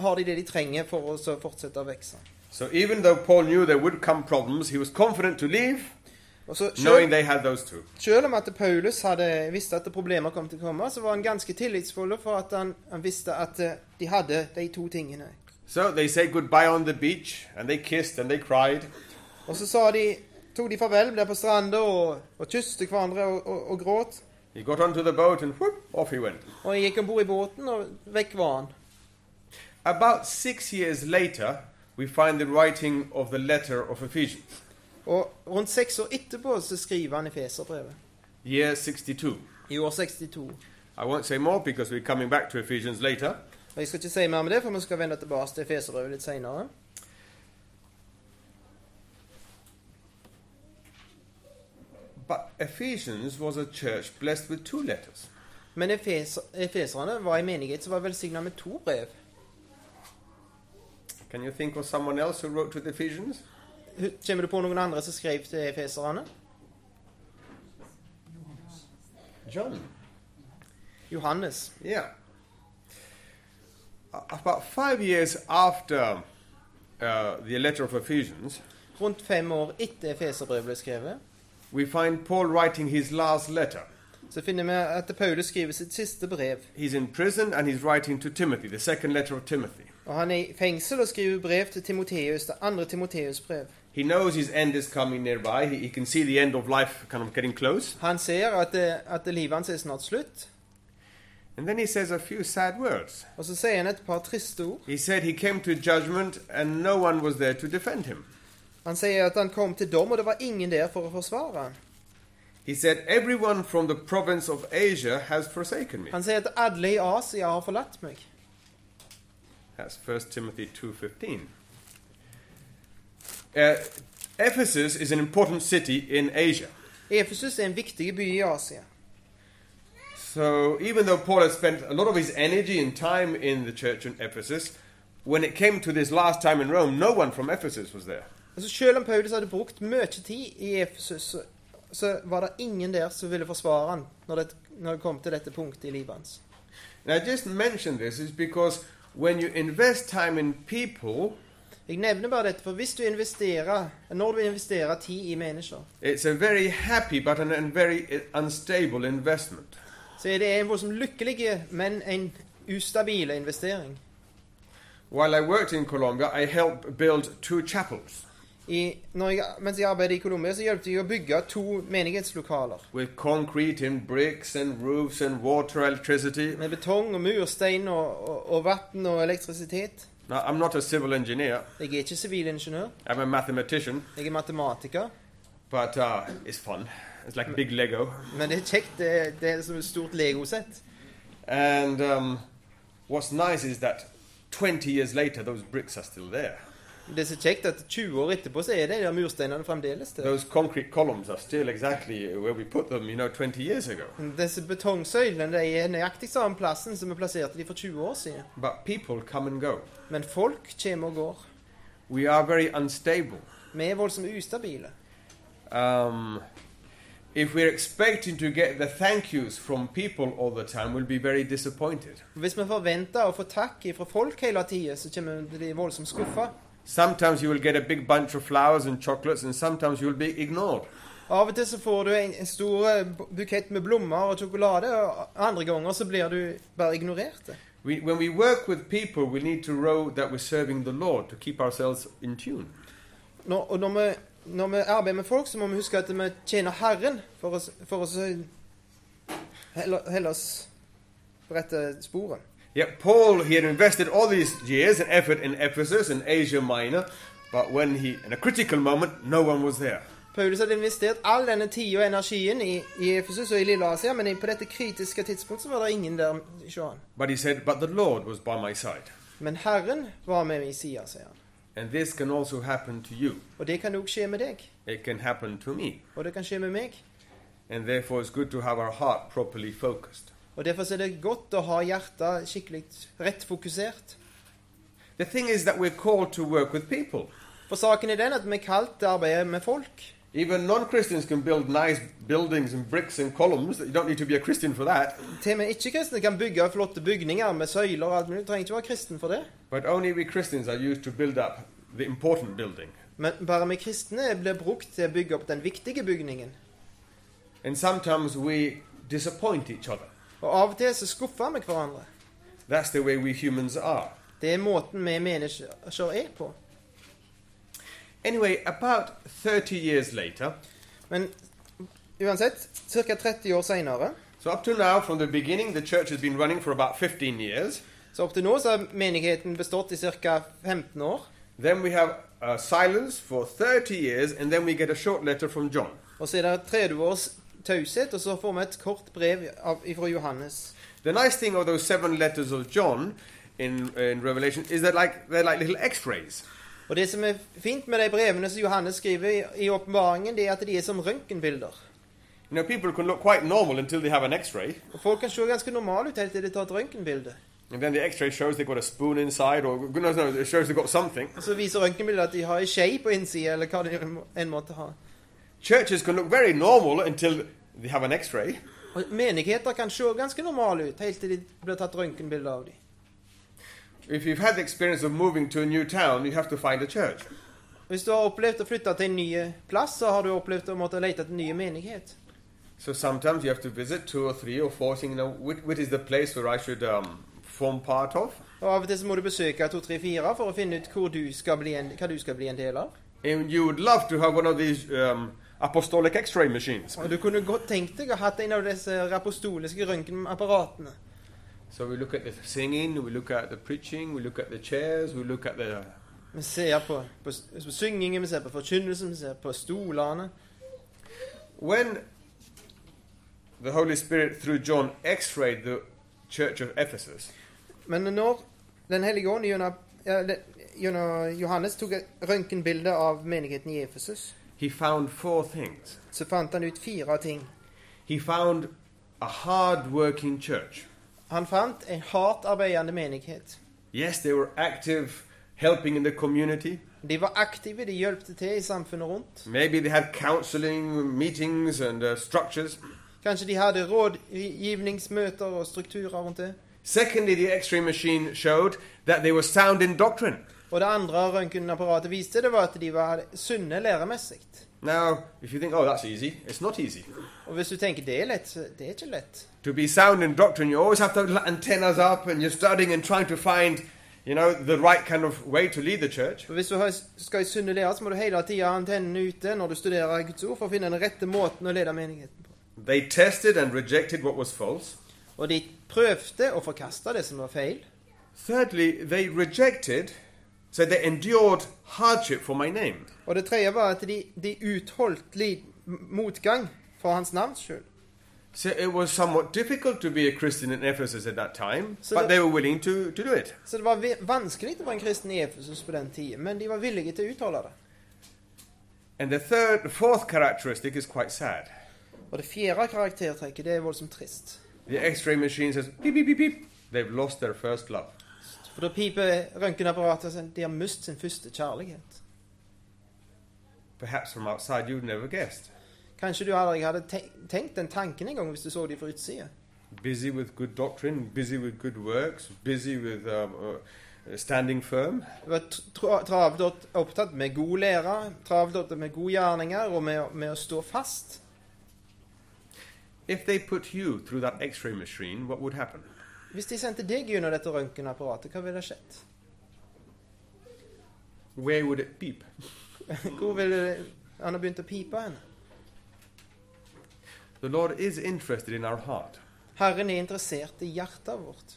Speaker 3: har de det de trenger for å så fortsette å vokse.
Speaker 2: So even though Paul knew there would come problems, he was confident to leave,
Speaker 3: Og så
Speaker 2: knowing
Speaker 3: selv,
Speaker 2: they had those two.
Speaker 3: selv om at Paulus hadde visste at problemer kom til å komme, så var han ganske tillitsfull for at han, han visste at eh, de hadde de to tingene.
Speaker 2: So they say goodbye on the beach, and they kissed and they cried.
Speaker 3: Og så sa de, tok de farvel der på stranda og, og kysste hverandre og, og, og gråt.
Speaker 2: He got onto the boat and whoop, off he went.
Speaker 3: Og jeg gikk om bord i båten, og vekk var han.
Speaker 2: About six years later, we find the writing of the letter of Ephesians,
Speaker 3: Og rundt seks år etterpå så skriver han i Feserbrevet.
Speaker 2: year 62.
Speaker 3: I år 62.
Speaker 2: I won't say more because we're coming back to Ephesians later.
Speaker 3: Og Jeg skal ikke si mer om det, for vi skal vende tilbake til Feserbrevet litt senere.
Speaker 2: But Ephesians was a church blessed with two letters.
Speaker 3: Men efes efeserne var en menighet som var velsigna med to brev.
Speaker 2: Can you think of someone else who wrote to the Ephesians?
Speaker 3: Hu- Kommer du på noen andre som skrev til efeserne?
Speaker 2: John.
Speaker 3: Johannes.
Speaker 2: Yeah. A- About five years after uh, the letter of Ephesians,
Speaker 3: Rundt fem år etter Feserbrevet ble skrevet,
Speaker 2: we find Paul writing his last letter.
Speaker 3: så finner vi at Paulus skriver sitt siste brev.
Speaker 2: He's in prison and he's writing to Timothy, the second letter of Timothy.
Speaker 3: Og han er i fengsel og skriver brev til Timoteus, det andre Timoteus' brev.
Speaker 2: He knows his end is coming nearby. He, he can see the end of life kind of getting close.
Speaker 3: Han ser at, eh, at livet hans er snart slutt,
Speaker 2: And then he says a few sad words.
Speaker 3: og så sier han et par triste ord.
Speaker 2: He said he came to judgment and no one was there to defend him.
Speaker 3: Han sier at han kom til dom, og det var ingen der for å forsvare han.
Speaker 2: He said, Everyone from the province of Asia has forsaken me.
Speaker 3: Han sier at alle i Asia har forlatt meg.
Speaker 2: That's 1 Timothy 2.15. Uh, Ephesus is an important city in Asia.
Speaker 3: Efesus er en viktig by i Asia.
Speaker 2: So even though Paul had spent a lot of his energy and time in the church in Ephesus, when it came to this last time in Rome, no one from Ephesus was there.
Speaker 3: Altså selv om Paulus hadde brukt mye tid i Efesus, så, så var det ingen der som ville forsvare han når det, når det kom til dette punktet i livet hans.
Speaker 2: And I just mention this is because when you invest time in people,
Speaker 3: Jeg nevner bare dette, for hvis du investerer, når du investerer tid i mennesker,
Speaker 2: it's a very happy but an, an very uh, unstable investment.
Speaker 3: så er det en voldsomt lykkelig, men en ustabil investering.
Speaker 2: While I worked in Colombia, I helped build two chapels
Speaker 3: I, når jeg, mens jeg arbeidet i Colombia, så hjalp jeg å bygge to menighetslokaler.
Speaker 2: with concrete and bricks and roofs and water, electricity.
Speaker 3: Med betong og murstein og, og, og vann og elektrisitet.
Speaker 2: Now, I'm not a civil engineer,
Speaker 3: Jeg er ikke sivilingeniør,
Speaker 2: I'm a mathematician,
Speaker 3: jeg er matematiker.
Speaker 2: but uh, it's fun. It's like big Lego.
Speaker 3: Men det er kjekt, det, det er som et stort legosett.
Speaker 2: And um, what's nice is that 20 years later, those bricks are still there.
Speaker 3: Det er så kjekt at 20 år etterpå så er det de der mursteinene fremdeles der.
Speaker 2: Those concrete columns are still exactly where we put them, you know, 20 years ago.
Speaker 3: Disse betongsøylene de er nøyaktig samme plassen som vi plasserte de for 20 år siden.
Speaker 2: But people come and go.
Speaker 3: Men folk kommer og går.
Speaker 2: We are very unstable.
Speaker 3: Vi er voldsomt ustabile.
Speaker 2: Um, if we're expecting to get the thank yous from people all the time, we'll be very disappointed.
Speaker 3: Hvis vi forventer å få takk fra folk hele tida, så kommer vi til å bli voldsomt skuffa.
Speaker 2: Sometimes you will get a big bunch of flowers and chocolates, and sometimes you'll be ignored.
Speaker 3: Av og til så får du en, en stor eh, bu- bukett med blomster og sjokolade, og andre ganger så blir du bare ignorert.
Speaker 2: We, when we work with people, we need to know that we're serving the Lord to keep ourselves in tune.
Speaker 3: Når, og når vi, når vi arbeider med folk, så må vi huske at vi tjener Herren for oss, for oss Helle oss på rette sporet.
Speaker 2: Yet Paul, he had invested all these years and effort in Ephesus and Asia Minor, but when he, in a critical moment, no one was there.
Speaker 3: Paulus hadde investert all denne tida og energien i, i Efesus og i Lille Asia, men på dette kritiske tidspunktet så var det ingen der. Sjå han.
Speaker 2: But he said, But the Lord was by my side.
Speaker 3: Men Herren var med i sida, sier han.
Speaker 2: And this can also happen to you.
Speaker 3: Og det kan òg skje med deg.
Speaker 2: It can happen to me.
Speaker 3: Og det kan skje med meg.
Speaker 2: And therefore, it's good to have our heart properly focused.
Speaker 3: Og Derfor så er det godt å ha hjertet skikkelig rett fokusert.
Speaker 2: The thing is that we're called to work with people.
Speaker 3: For saken er den at vi er kalt til å arbeide med folk.
Speaker 2: Even non Christians can build nice buildings and bricks and columns. You don't need to be a Christian for that.
Speaker 3: Til og med ikke-kristne kan bygge flotte bygninger med søyler og alt mulig. Du trenger ikke være kristen for det.
Speaker 2: But only we Christians are used to build up the important building.
Speaker 3: Men bare vi kristne blir brukt til å bygge opp den viktige bygningen.
Speaker 2: And sometimes we disappoint each other.
Speaker 3: Og av og til så skuffer vi hverandre.
Speaker 2: That's the way we humans are.
Speaker 3: Det er måten vi mennesker er på.
Speaker 2: Anyway, about 30 years later,
Speaker 3: Men uansett, ca. 30 år seinere,
Speaker 2: so up to now, from the beginning, the church has been running for about 15 years.
Speaker 3: så opp til nå så har menigheten bestått i ca. 15 år.
Speaker 2: Then we have uh, silence for 30 years, and then we get a short letter from John.
Speaker 3: Og så er det 30 års taushet, og så får vi et kort brev av, fra Johannes.
Speaker 2: The nice thing of those seven letters of John in, in Revelation is that like they're like little X-rays.
Speaker 3: Og det som er fint med de brevene som Johannes skriver i- i åpenbaringen, det er at de er som røntgenbilder.
Speaker 2: You know, people can look quite normal until they have an X-ray,
Speaker 3: Og folk kan se ganske normale ut helt til de tar et røntgenbilde.
Speaker 2: and then the X-ray shows they've got a spoon inside, or God knows, no, it shows they've got something.
Speaker 3: Og så viser røntgenbildet at de har ei skje på innsida, eller hva de må- enn måtte ha.
Speaker 2: Churches can look very normal until they have an X-ray,
Speaker 3: Og menigheter kan se ganske normale ut helt til de blir tatt røntgenbilder av dem.
Speaker 2: If you've had the experience of moving to a new town, you have to find a church.
Speaker 3: Hvis du har opplevd å flytte til en ny plass, så har du opplevd å måtte lete etter en ny menighet.
Speaker 2: So sometimes you have to visit two or three or four, saying, you know, which, which is the place where I should um, form part of.
Speaker 3: Og av og til så må du besøke 234 for å finne ut hvor du skal bli en, hva du skal bli en del av.
Speaker 2: And you would love to have one of these um, apostolic x ray machines.
Speaker 3: Og du kunne godt tenkt deg å ha hatt en av disse apostoliske røntgenapparatene.
Speaker 2: So we look at the singing, we look at the preaching, we look at the chairs, we look at the.
Speaker 3: Vi ser på, på, på syngingen, vi ser på forkynnelsen, vi ser på stolene.
Speaker 2: When the Holy Spirit, through John, x rayed the church of Ephesus,
Speaker 3: Men når Den hellige ånd gjennom ja, det- gjennom Johannes tok et røntgenbilde av menigheten i Efesus,
Speaker 2: he found four things.
Speaker 3: så fant han ut fire ting.
Speaker 2: He found a hard working church.
Speaker 3: Han fant en hardt arbeidende menighet.
Speaker 2: Yes, they were active, helping in the community.
Speaker 3: De var aktive, de hjalp til i samfunnet rundt.
Speaker 2: Maybe they had counseling, meetings, and uh, structures.
Speaker 3: Kanskje de hadde rådgivningsmøter og strukturer rundt det.
Speaker 2: Secondly, the x ray machine showed that they were sound in doctrine.
Speaker 3: Og det andre røntgenapparatet viste, det var at de var sunne læremessig.
Speaker 2: Now, if you think, oh, that's easy, it's not easy.
Speaker 3: Og hvis du tenker det er lett, så det er ikke lett.
Speaker 2: To be sound in doctrine, you always have to have little antennas up and you're studying and trying to find, you know, the right kind of way to lead the church.
Speaker 3: For hvis du har- skal i sunne lære, så må du hele tida ha antennene ute når du studerer Guds ord, for å finne den rette måten å lede menigheten på.
Speaker 2: They tested and rejected what was false.
Speaker 3: Og de prøvde å forkaste det som var feil.
Speaker 2: Thirdly, they rejected, so they endured hardship for my name.
Speaker 3: Og det tredje var at de, de utholdt lid, motgang for hans navns skyld.
Speaker 2: So it was somewhat difficult to be a Christian in Ephesus at that time,
Speaker 3: So
Speaker 2: but
Speaker 3: that-
Speaker 2: they were willing to, to do it.
Speaker 3: Så det var vi- vanskelig å være en kristen i Efesus på den tida, men de var villige til å uttale det.
Speaker 2: And the third, the fourth characteristic is quite sad.
Speaker 3: Og det fjerde karaktertrekket, det er voldsomt trist.
Speaker 2: The X-ray machine says beep beep beep beep. They've lost their first love.
Speaker 3: For da piper røntgenapparatet og sier de har mistet sin første kjærlighet.
Speaker 2: Perhaps from outside you'd never guessed.
Speaker 3: Kanskje du aldri hadde te tenkt den tanken engang hvis du så de fra utsida.
Speaker 2: Busy with good doctrine, busy with good works, busy with um, uh, standing firm.
Speaker 3: Du var tr- tra- travelt opp- opptatt med god lære, travelt opptatt med gode gjerninger og med, å- med å stå fast.
Speaker 2: If they put you through that x ray machine, what would happen?
Speaker 3: Hvis de sendte deg gjennom dette røntgenapparatet, hva ville skjedd? (laughs)
Speaker 2: Where would it beep?
Speaker 3: Hvor ville han ha begynt å pipe hen?
Speaker 2: The Lord is interested in our heart.
Speaker 3: Herren er interessert i hjertet vårt.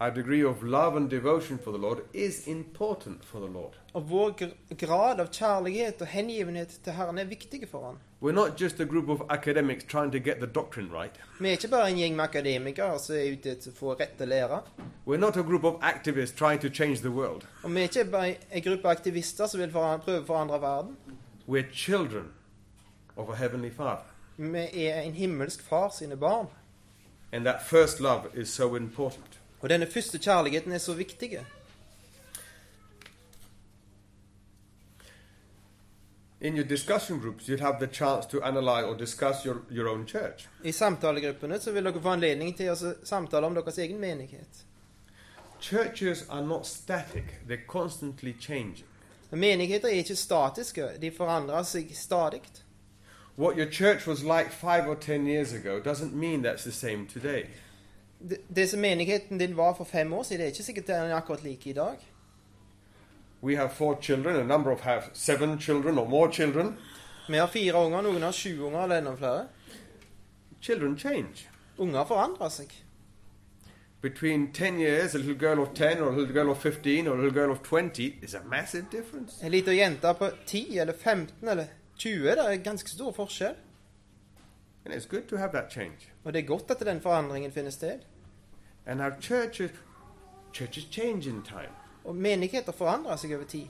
Speaker 2: Our degree of love and devotion for the Lord is important for the Lord.
Speaker 3: Og vår gr grad av kjærlighet og hengivenhet til Herren er viktig for han.
Speaker 2: We're not just a group of academics trying to get the doctrine right.
Speaker 3: Vi er ikke bare en gjeng med akademikere som er ute etter å få rette lære.
Speaker 2: We're not a group of activists trying to change the world.
Speaker 3: Og vi er ikke bare en gruppe aktivister som vil foran prøve å forandre verden.
Speaker 2: We're children of a Heavenly Father.
Speaker 3: Vi er en himmelsk far sine barn.
Speaker 2: And that first love is so important.
Speaker 3: Og denne første kjærligheten er så viktig.
Speaker 2: In your discussion groups, you'd have the chance to analyze or discuss your, your own church.
Speaker 3: I samtalegruppene så vil dere få anledning til å samtale om deres egen menighet.
Speaker 2: Churches are not static, they're constantly changing.
Speaker 3: Men Menigheter er ikke statiske, de forandrer seg stadig.
Speaker 2: What your church was like five or ten years ago doesn't mean that's the same today.
Speaker 3: Det det som menigheten din var for fem år siden, det er ikke sikkert den er akkurat like i dag.
Speaker 2: We have four children, a number of have seven children or more children.
Speaker 3: Vi har fire unger, noen har sju unger eller enda flere.
Speaker 2: Children change.
Speaker 3: Unger forandrer seg.
Speaker 2: Between 10 years, a little girl of 10 or a little girl of 15 or a little girl of 20 is a massive difference.
Speaker 3: En liten jente på 10 eller 15 eller 20, det er ganske stor forskjell.
Speaker 2: And it's good to have that change.
Speaker 3: Og det er godt at den forandringen finner sted.
Speaker 2: And our churches, churches change in time.
Speaker 3: Og menigheter forandrer seg over tid.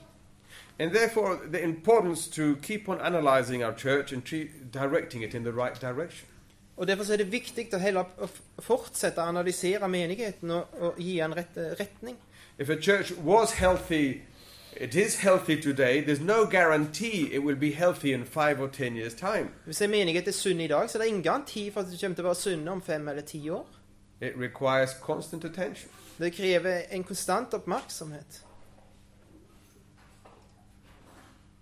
Speaker 2: And therefore, the importance to keep on analyzing our church and tre- directing it in the right direction.
Speaker 3: Og Derfor så er det viktig å, heller, å f- fortsette å analysere menigheten og, og gi den rett retning.
Speaker 2: If a church was healthy, it is healthy today, there's no guarantee it will be healthy in five or ten years' time.
Speaker 3: Hvis en menighet er sunn i dag, så er det ingen garanti for at du kommer til å være sunn om fem eller ti år.
Speaker 2: It requires constant attention.
Speaker 3: Det krever en konstant oppmerksomhet.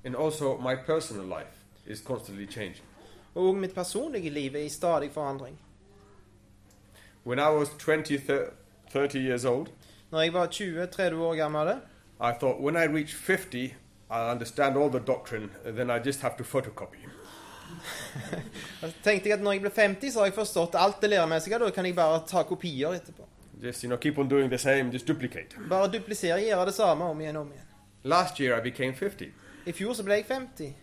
Speaker 2: And also, my personal life is constantly changing.
Speaker 3: Og også mitt personlige liv er i stadig forandring.
Speaker 2: When I was 20, thir- 30 years old,
Speaker 3: Når jeg var 20-30 år gammel,
Speaker 2: I thought when I reach 50, I'll understand all the doctrine, and then I just have to photocopy.
Speaker 3: Da tenkte jeg at når jeg ble 50, så har jeg forstått alt det læremessige. Da kan jeg bare ta kopier etterpå.
Speaker 2: Just, you know, keep on doing the same, just duplicate.
Speaker 3: Bare duplisere, gjøre det samme om igjen og om igjen.
Speaker 2: Last year, I became 50,
Speaker 3: I fjor så ble jeg 50,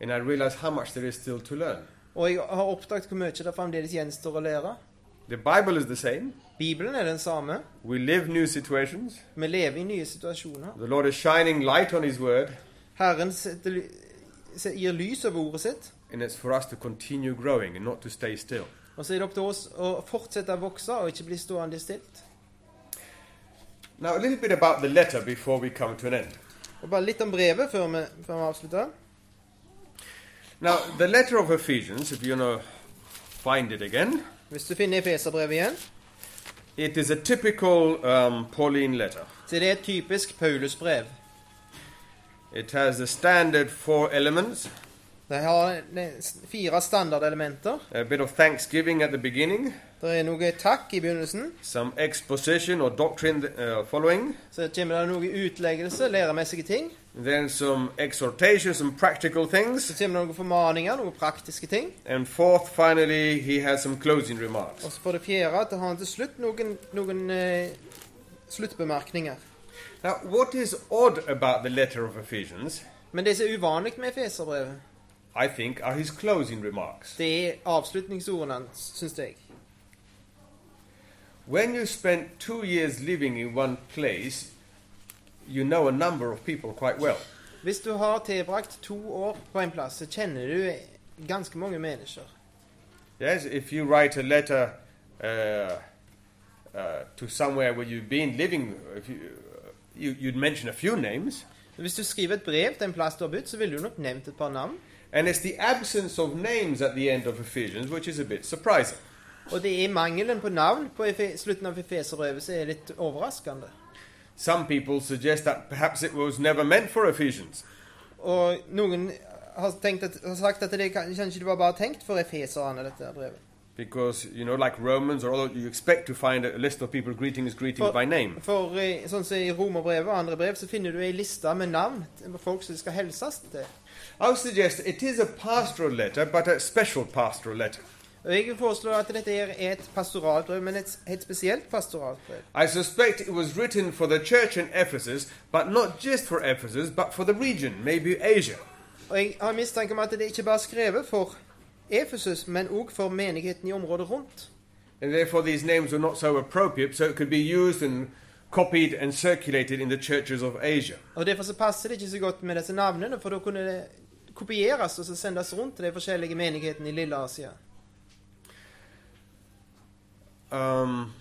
Speaker 2: and I realized how much there is still to learn.
Speaker 3: og jeg har oppdaget hvor mye det fremdeles gjenstår å lære.
Speaker 2: The Bible is the same.
Speaker 3: Bibelen er den samme.
Speaker 2: We live new situations.
Speaker 3: Vi lever i nye situasjoner.
Speaker 2: The Lord is shining light on His Word,
Speaker 3: Herren setter, ly- se- gir lys over ordet sitt,
Speaker 2: and it's for us to continue growing and not to stay still.
Speaker 3: og så er det opp til oss å fortsette å vokse og ikke bli stående stilt.
Speaker 2: Now, a little bit about the letter before we come to an end.
Speaker 3: Og bare litt om brevet før vi, før vi avslutter.
Speaker 2: Now, the letter of Ephesians, if you want to find it again,
Speaker 3: Hvis du finner Efeserbrevet igjen,
Speaker 2: it is a typical um, Pauline letter.
Speaker 3: så er det et typisk Paulusbrev.
Speaker 2: It has the standard four elements
Speaker 3: De har ne- fire standardelementer.
Speaker 2: a bit of thanksgiving at the beginning,
Speaker 3: Det er noe takk i begynnelsen,
Speaker 2: some exposition or doctrine uh, following,
Speaker 3: så kommer det noe utleggelse, læremessige ting.
Speaker 2: then some exhortation, some practical
Speaker 3: Så
Speaker 2: things,
Speaker 3: kommer det noen formaninger, noen praktiske ting.
Speaker 2: and fourth, finally, he has some closing remarks.
Speaker 3: Og så for det fjerde at det har han til slutt noen, noen eh, sluttbemerkninger.
Speaker 2: Now, what is odd about the letter of Ephesians,
Speaker 3: Men det som er uvanlig med Efeserbrevet,
Speaker 2: I think, are his closing remarks.
Speaker 3: det er avslutningsordene hans, syns jeg.
Speaker 2: When you spend two years living in one place, you know a number of people quite well.
Speaker 3: Hvis du har tilbrakt to år på en plass, så kjenner du ganske mange mennesker.
Speaker 2: Yes, if you write a letter uh, uh, to somewhere where you've been living, if you, you, you'd mention a few names,
Speaker 3: Hvis du skriver et brev til en plass du har bodd, så ville du nok nevnt et par navn.
Speaker 2: and it's the absence of names at the end of Ephesians which is a bit surprising.
Speaker 3: Og det er mangelen på navn på Efe- slutten av Efeserøvet som er litt overraskende.
Speaker 2: Some people suggest that perhaps it was never meant for Ephesians.
Speaker 3: Og noen har, tenkt at, har sagt at det kan- kanskje det var bare tenkt for efeserne, dette her brevet.
Speaker 2: Because, you know, like Romans or other, you expect to find a list of people greetings, greetings by name.
Speaker 3: for eh, sånn som i romerbrevet og andre brev, så finner du ei liste med navn på folk som skal hilses til.
Speaker 2: I would suggest it is a pastoral letter, but a special pastoral letter.
Speaker 3: Og jeg vil foreslå at dette her er et pastoralt brev, men et helt spesielt pastoralt brev.
Speaker 2: I suspect it was written for the church in Ephesus, but not just for Ephesus, but for the region, maybe Asia.
Speaker 3: Og jeg har mistanke om at det ikke bare er skrevet for Efesus, men òg for menigheten i området rundt.
Speaker 2: And therefore, these names were not so appropriate, so it could be used and copied and circulated in the churches of Asia.
Speaker 3: Og Derfor så passer det ikke så godt med disse navnene, for da kunne det kopieres og så sendes rundt til de forskjellige menighetene i Lille-Asia.
Speaker 2: Um,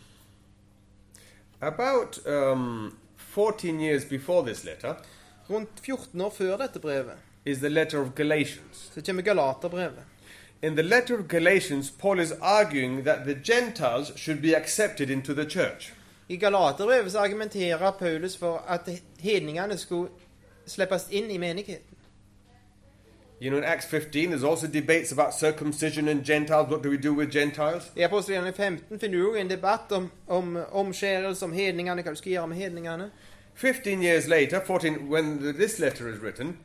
Speaker 2: about um, 14 years before this letter
Speaker 3: Rundt 14 år før dette brevet
Speaker 2: is the letter of Galatians.
Speaker 3: så kommer Galaterbrevet.
Speaker 2: In the letter of Galatians, Paul is arguing that the Gentiles should be accepted into the church.
Speaker 3: I Galaterbrevet så argumenterer Paulus for at hedningene skulle slippes inn i menigheten.
Speaker 2: You know, in Acts 15, there's also debates about circumcision and Gentiles. What do we do with Gentiles?
Speaker 3: I Apostelgjerningen 15 finner du jo en debatt om, om omskjærelse, om hedningene, hva du skal gjøre med hedningene.
Speaker 2: 15 years later, 14, when the, this letter is written,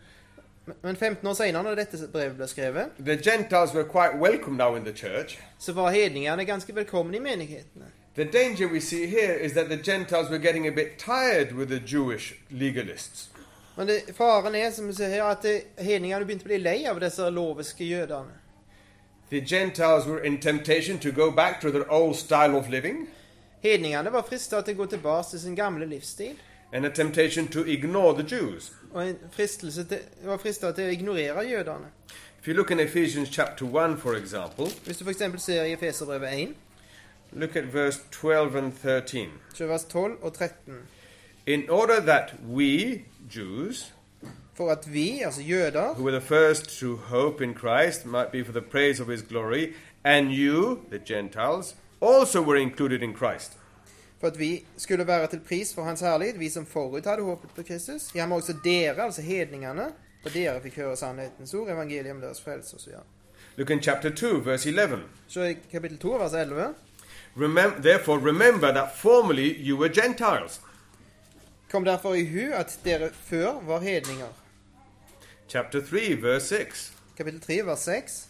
Speaker 3: Men- Men 15 år senere, når dette brevet ble skrevet,
Speaker 2: the Gentiles were quite welcome now in the church.
Speaker 3: så var hedningene ganske velkomne i menighetene.
Speaker 2: The danger we see here is that the Gentiles were getting a bit tired with the Jewish legalists.
Speaker 3: Men det, faren er, som vi ser her, at det- hedningene begynte å bli lei av disse loviske jødene.
Speaker 2: The Gentiles were in temptation to go back to their old style of living
Speaker 3: Hedningene var frista til å gå tilbake til sin gamle livsstil,
Speaker 2: and a temptation to ignore the Jews.
Speaker 3: og en fristelse til, var frista til å ignorere jødene.
Speaker 2: If you look in Ephesians chapter 1, for example,
Speaker 3: Hvis du f.eks. ser i Efeserbrevet 1,
Speaker 2: look at verse 12 and 13.
Speaker 3: så er vers 12 og 13
Speaker 2: In order that we, Jews,
Speaker 3: For at vi, altså jøder,
Speaker 2: who were the first to hope in Christ, might be for the praise of his glory, and you, the Gentiles, also were included in Christ.
Speaker 3: for at vi skulle være til pris for Hans herlighet, vi som forut hadde håpet på Kristus. Ja, men også dere, altså hedningene, for dere fikk høre sannhetens ord, evangeliet om deres frelse osv.
Speaker 2: Look in chapter 2, verse 11.
Speaker 3: Se i kapittel 2, vers 11.
Speaker 2: Remem- Therefore, remember that formerly you were Gentiles.
Speaker 3: Kom derfor i hu at dere før var hedninger.
Speaker 2: Chapter 3, verse 6.
Speaker 3: Kapittel 3, vers 6.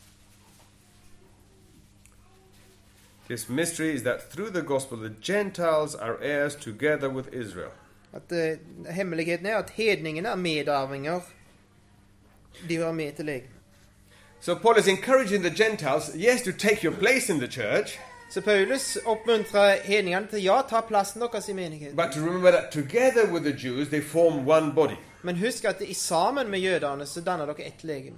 Speaker 2: This mystery is that through the gospel the Gentiles are heirs together with Israel.
Speaker 3: At eh, Hemmeligheten er at hedningene er medarvinger. De hører med til legene.
Speaker 2: So Paul is encouraging the Gentiles, yes, to take your place in the church,
Speaker 3: Så Paulus oppmuntrer hedningene til ja, ta plassen deres i menigheten.
Speaker 2: but to remember that together with the Jews they form one body.
Speaker 3: Men husk at i sammen med jødene så danner dere ett legeme.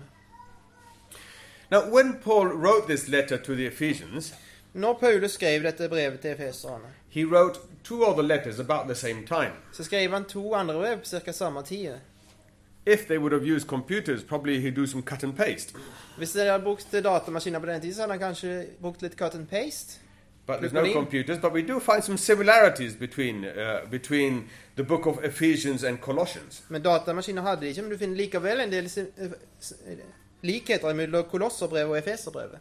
Speaker 2: Now, when Paul wrote this letter to the Ephesians,
Speaker 3: Når Paulus skrev dette brevet til efeserne,
Speaker 2: he wrote two other letters about the same time.
Speaker 3: så skrev han to andre brev på ca. samme tid.
Speaker 2: If they would have used computers, probably he'd do some cut and paste.
Speaker 3: Hvis dere hadde brukt datamaskiner på den tiden, så hadde han kanskje brukt litt cut and paste.
Speaker 2: But there's
Speaker 3: Good
Speaker 2: no
Speaker 3: morning.
Speaker 2: computers, but we do find some similarities between, uh, between the book of Ephesians and Colossians.
Speaker 3: Men datamaskiner hadde de ikke, men du finner likevel en del sin- eh, s- eh, likheter mellom kolosserbrevet og efeserbrevet.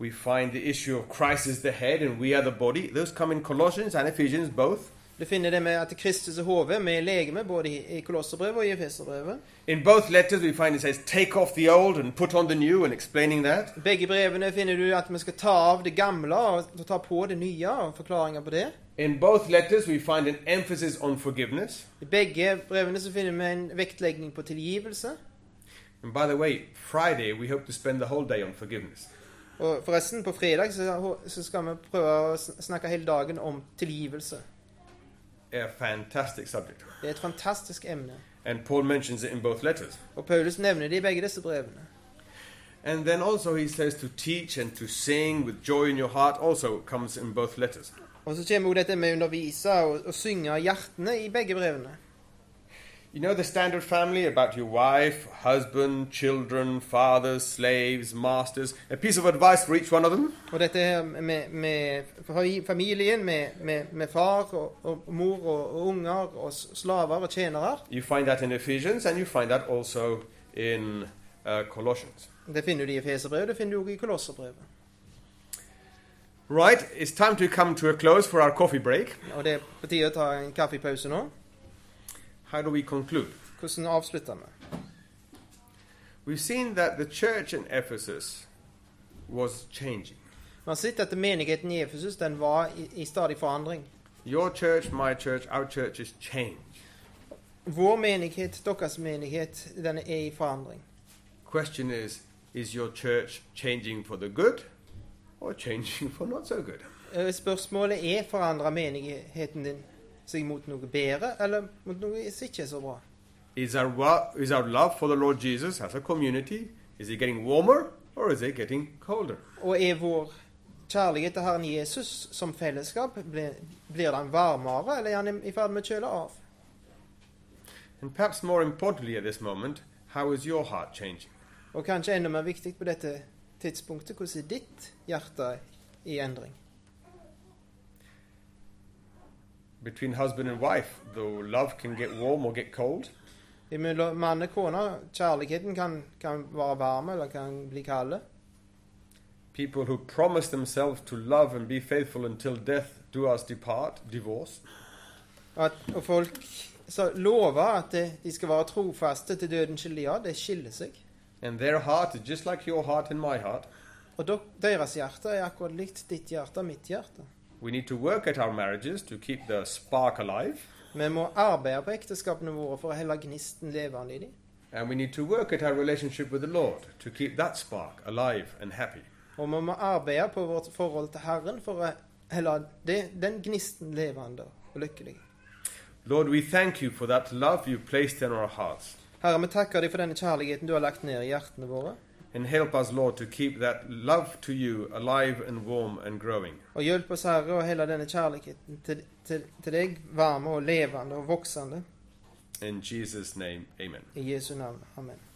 Speaker 2: We find the issue of Christ is the head and we are the body. Those come in Colossians and Ephesians both.
Speaker 3: Du finner det med at Kristus er hodet, med legeme, både i i Kolosserbrevet og i Efeserbrevet.
Speaker 2: In both letters, we find it says, take off the old and put on the new, and explaining that.
Speaker 3: Begge brevene finner du at vi skal ta av det gamle og ta på det nye, og forklaringer på det.
Speaker 2: In both letters, we find an emphasis on forgiveness.
Speaker 3: I begge brevene så finner vi en vektlegging på tilgivelse.
Speaker 2: And by the way, Friday, we hope to spend the whole day on forgiveness.
Speaker 3: Og forresten, på fredag så, så skal vi prøve å sn- snakke hele dagen om tilgivelse.
Speaker 2: A fantastic subject.
Speaker 3: Det er et fantastisk emne.
Speaker 2: And Paul mentions it in both letters.
Speaker 3: Og Paulus nevner det i begge disse brevene.
Speaker 2: And then also, he says to teach and to sing with joy in your heart also comes in both letters.
Speaker 3: Og så kommer også dette med å undervise og, og synge av hjertene i begge brevene.
Speaker 2: You know the standard family about your wife, husband, children, fathers, slaves, masters. A piece of advice for each one of them?
Speaker 3: Og dette her med, med fa- familien, med, med, med far og, og mor og, og unger og s- slaver og tjenere.
Speaker 2: You find that in Ephesians and you find that also in uh, Colossians.
Speaker 3: Det finner du i Efeserbrevet, det finner du også i Kolosserbrevet.
Speaker 2: Right, it's time to come to a close for our coffee break.
Speaker 3: Og det er på tide å ta en kaffepause nå.
Speaker 2: How do we conclude?
Speaker 3: Hvordan avslutter vi?
Speaker 2: We've seen that the church in Ephesus was changing.
Speaker 3: Vi har sett at menigheten i Efesus den var i, i stadig forandring.
Speaker 2: Your church, my church, our church is change.
Speaker 3: Vår menighet, deres menighet, den er i forandring.
Speaker 2: Question is is your church changing for the good or changing for not so good?
Speaker 3: Eh, Spørsmålet er forandrer menigheten din seg mot noe bedre, eller mot noe som ikke er så bra?
Speaker 2: Is our, wa- is our love for the Lord Jesus as a community, is it getting warmer or is it getting colder?
Speaker 3: Og er vår kjærlighet til Herren Jesus som fellesskap, blir, blir den varmere, eller er den i ferd med å kjøle av?
Speaker 2: And perhaps more importantly at this moment, how is your heart changing?
Speaker 3: Og kanskje enda mer viktig på dette tidspunktet, hvordan er ditt hjerte i endring?
Speaker 2: Between husband and wife, though love can get warm or get cold,
Speaker 3: Mellom mann og kone, kjærligheten kan, kan være varm eller kan bli kald.
Speaker 2: people who promise themselves to love and be faithful until death do us depart, divorce.
Speaker 3: Og, at, og folk så lover at eh, de skal være trofaste til døden skiller ja, det skiller seg.
Speaker 2: And their heart is just like your heart and my heart.
Speaker 3: Og dok- deres hjerte er akkurat likt ditt hjerte og mitt hjerte.
Speaker 2: We need to work at our marriages to keep the spark alive,
Speaker 3: Vi må arbeide på ekteskapene våre for å holde gnisten levende i dem.
Speaker 2: and we need to work at our relationship with the Lord to keep that spark alive and happy.
Speaker 3: Og vi må arbeide på vårt forhold til Herren for å holde det, den gnisten levende og lykkelig.
Speaker 2: Lord, we thank you for that love you placed in our hearts,
Speaker 3: Herre, vi takker deg for denne kjærligheten du har lagt ned i hjertene våre.
Speaker 2: and help us, Lord, to keep that love to you alive and warm and growing.
Speaker 3: Og hjelp oss, Herre, å holde denne kjærligheten til, til, til deg varme og levende og voksende.
Speaker 2: In Jesus' name, amen.
Speaker 3: I Jesu navn. Amen.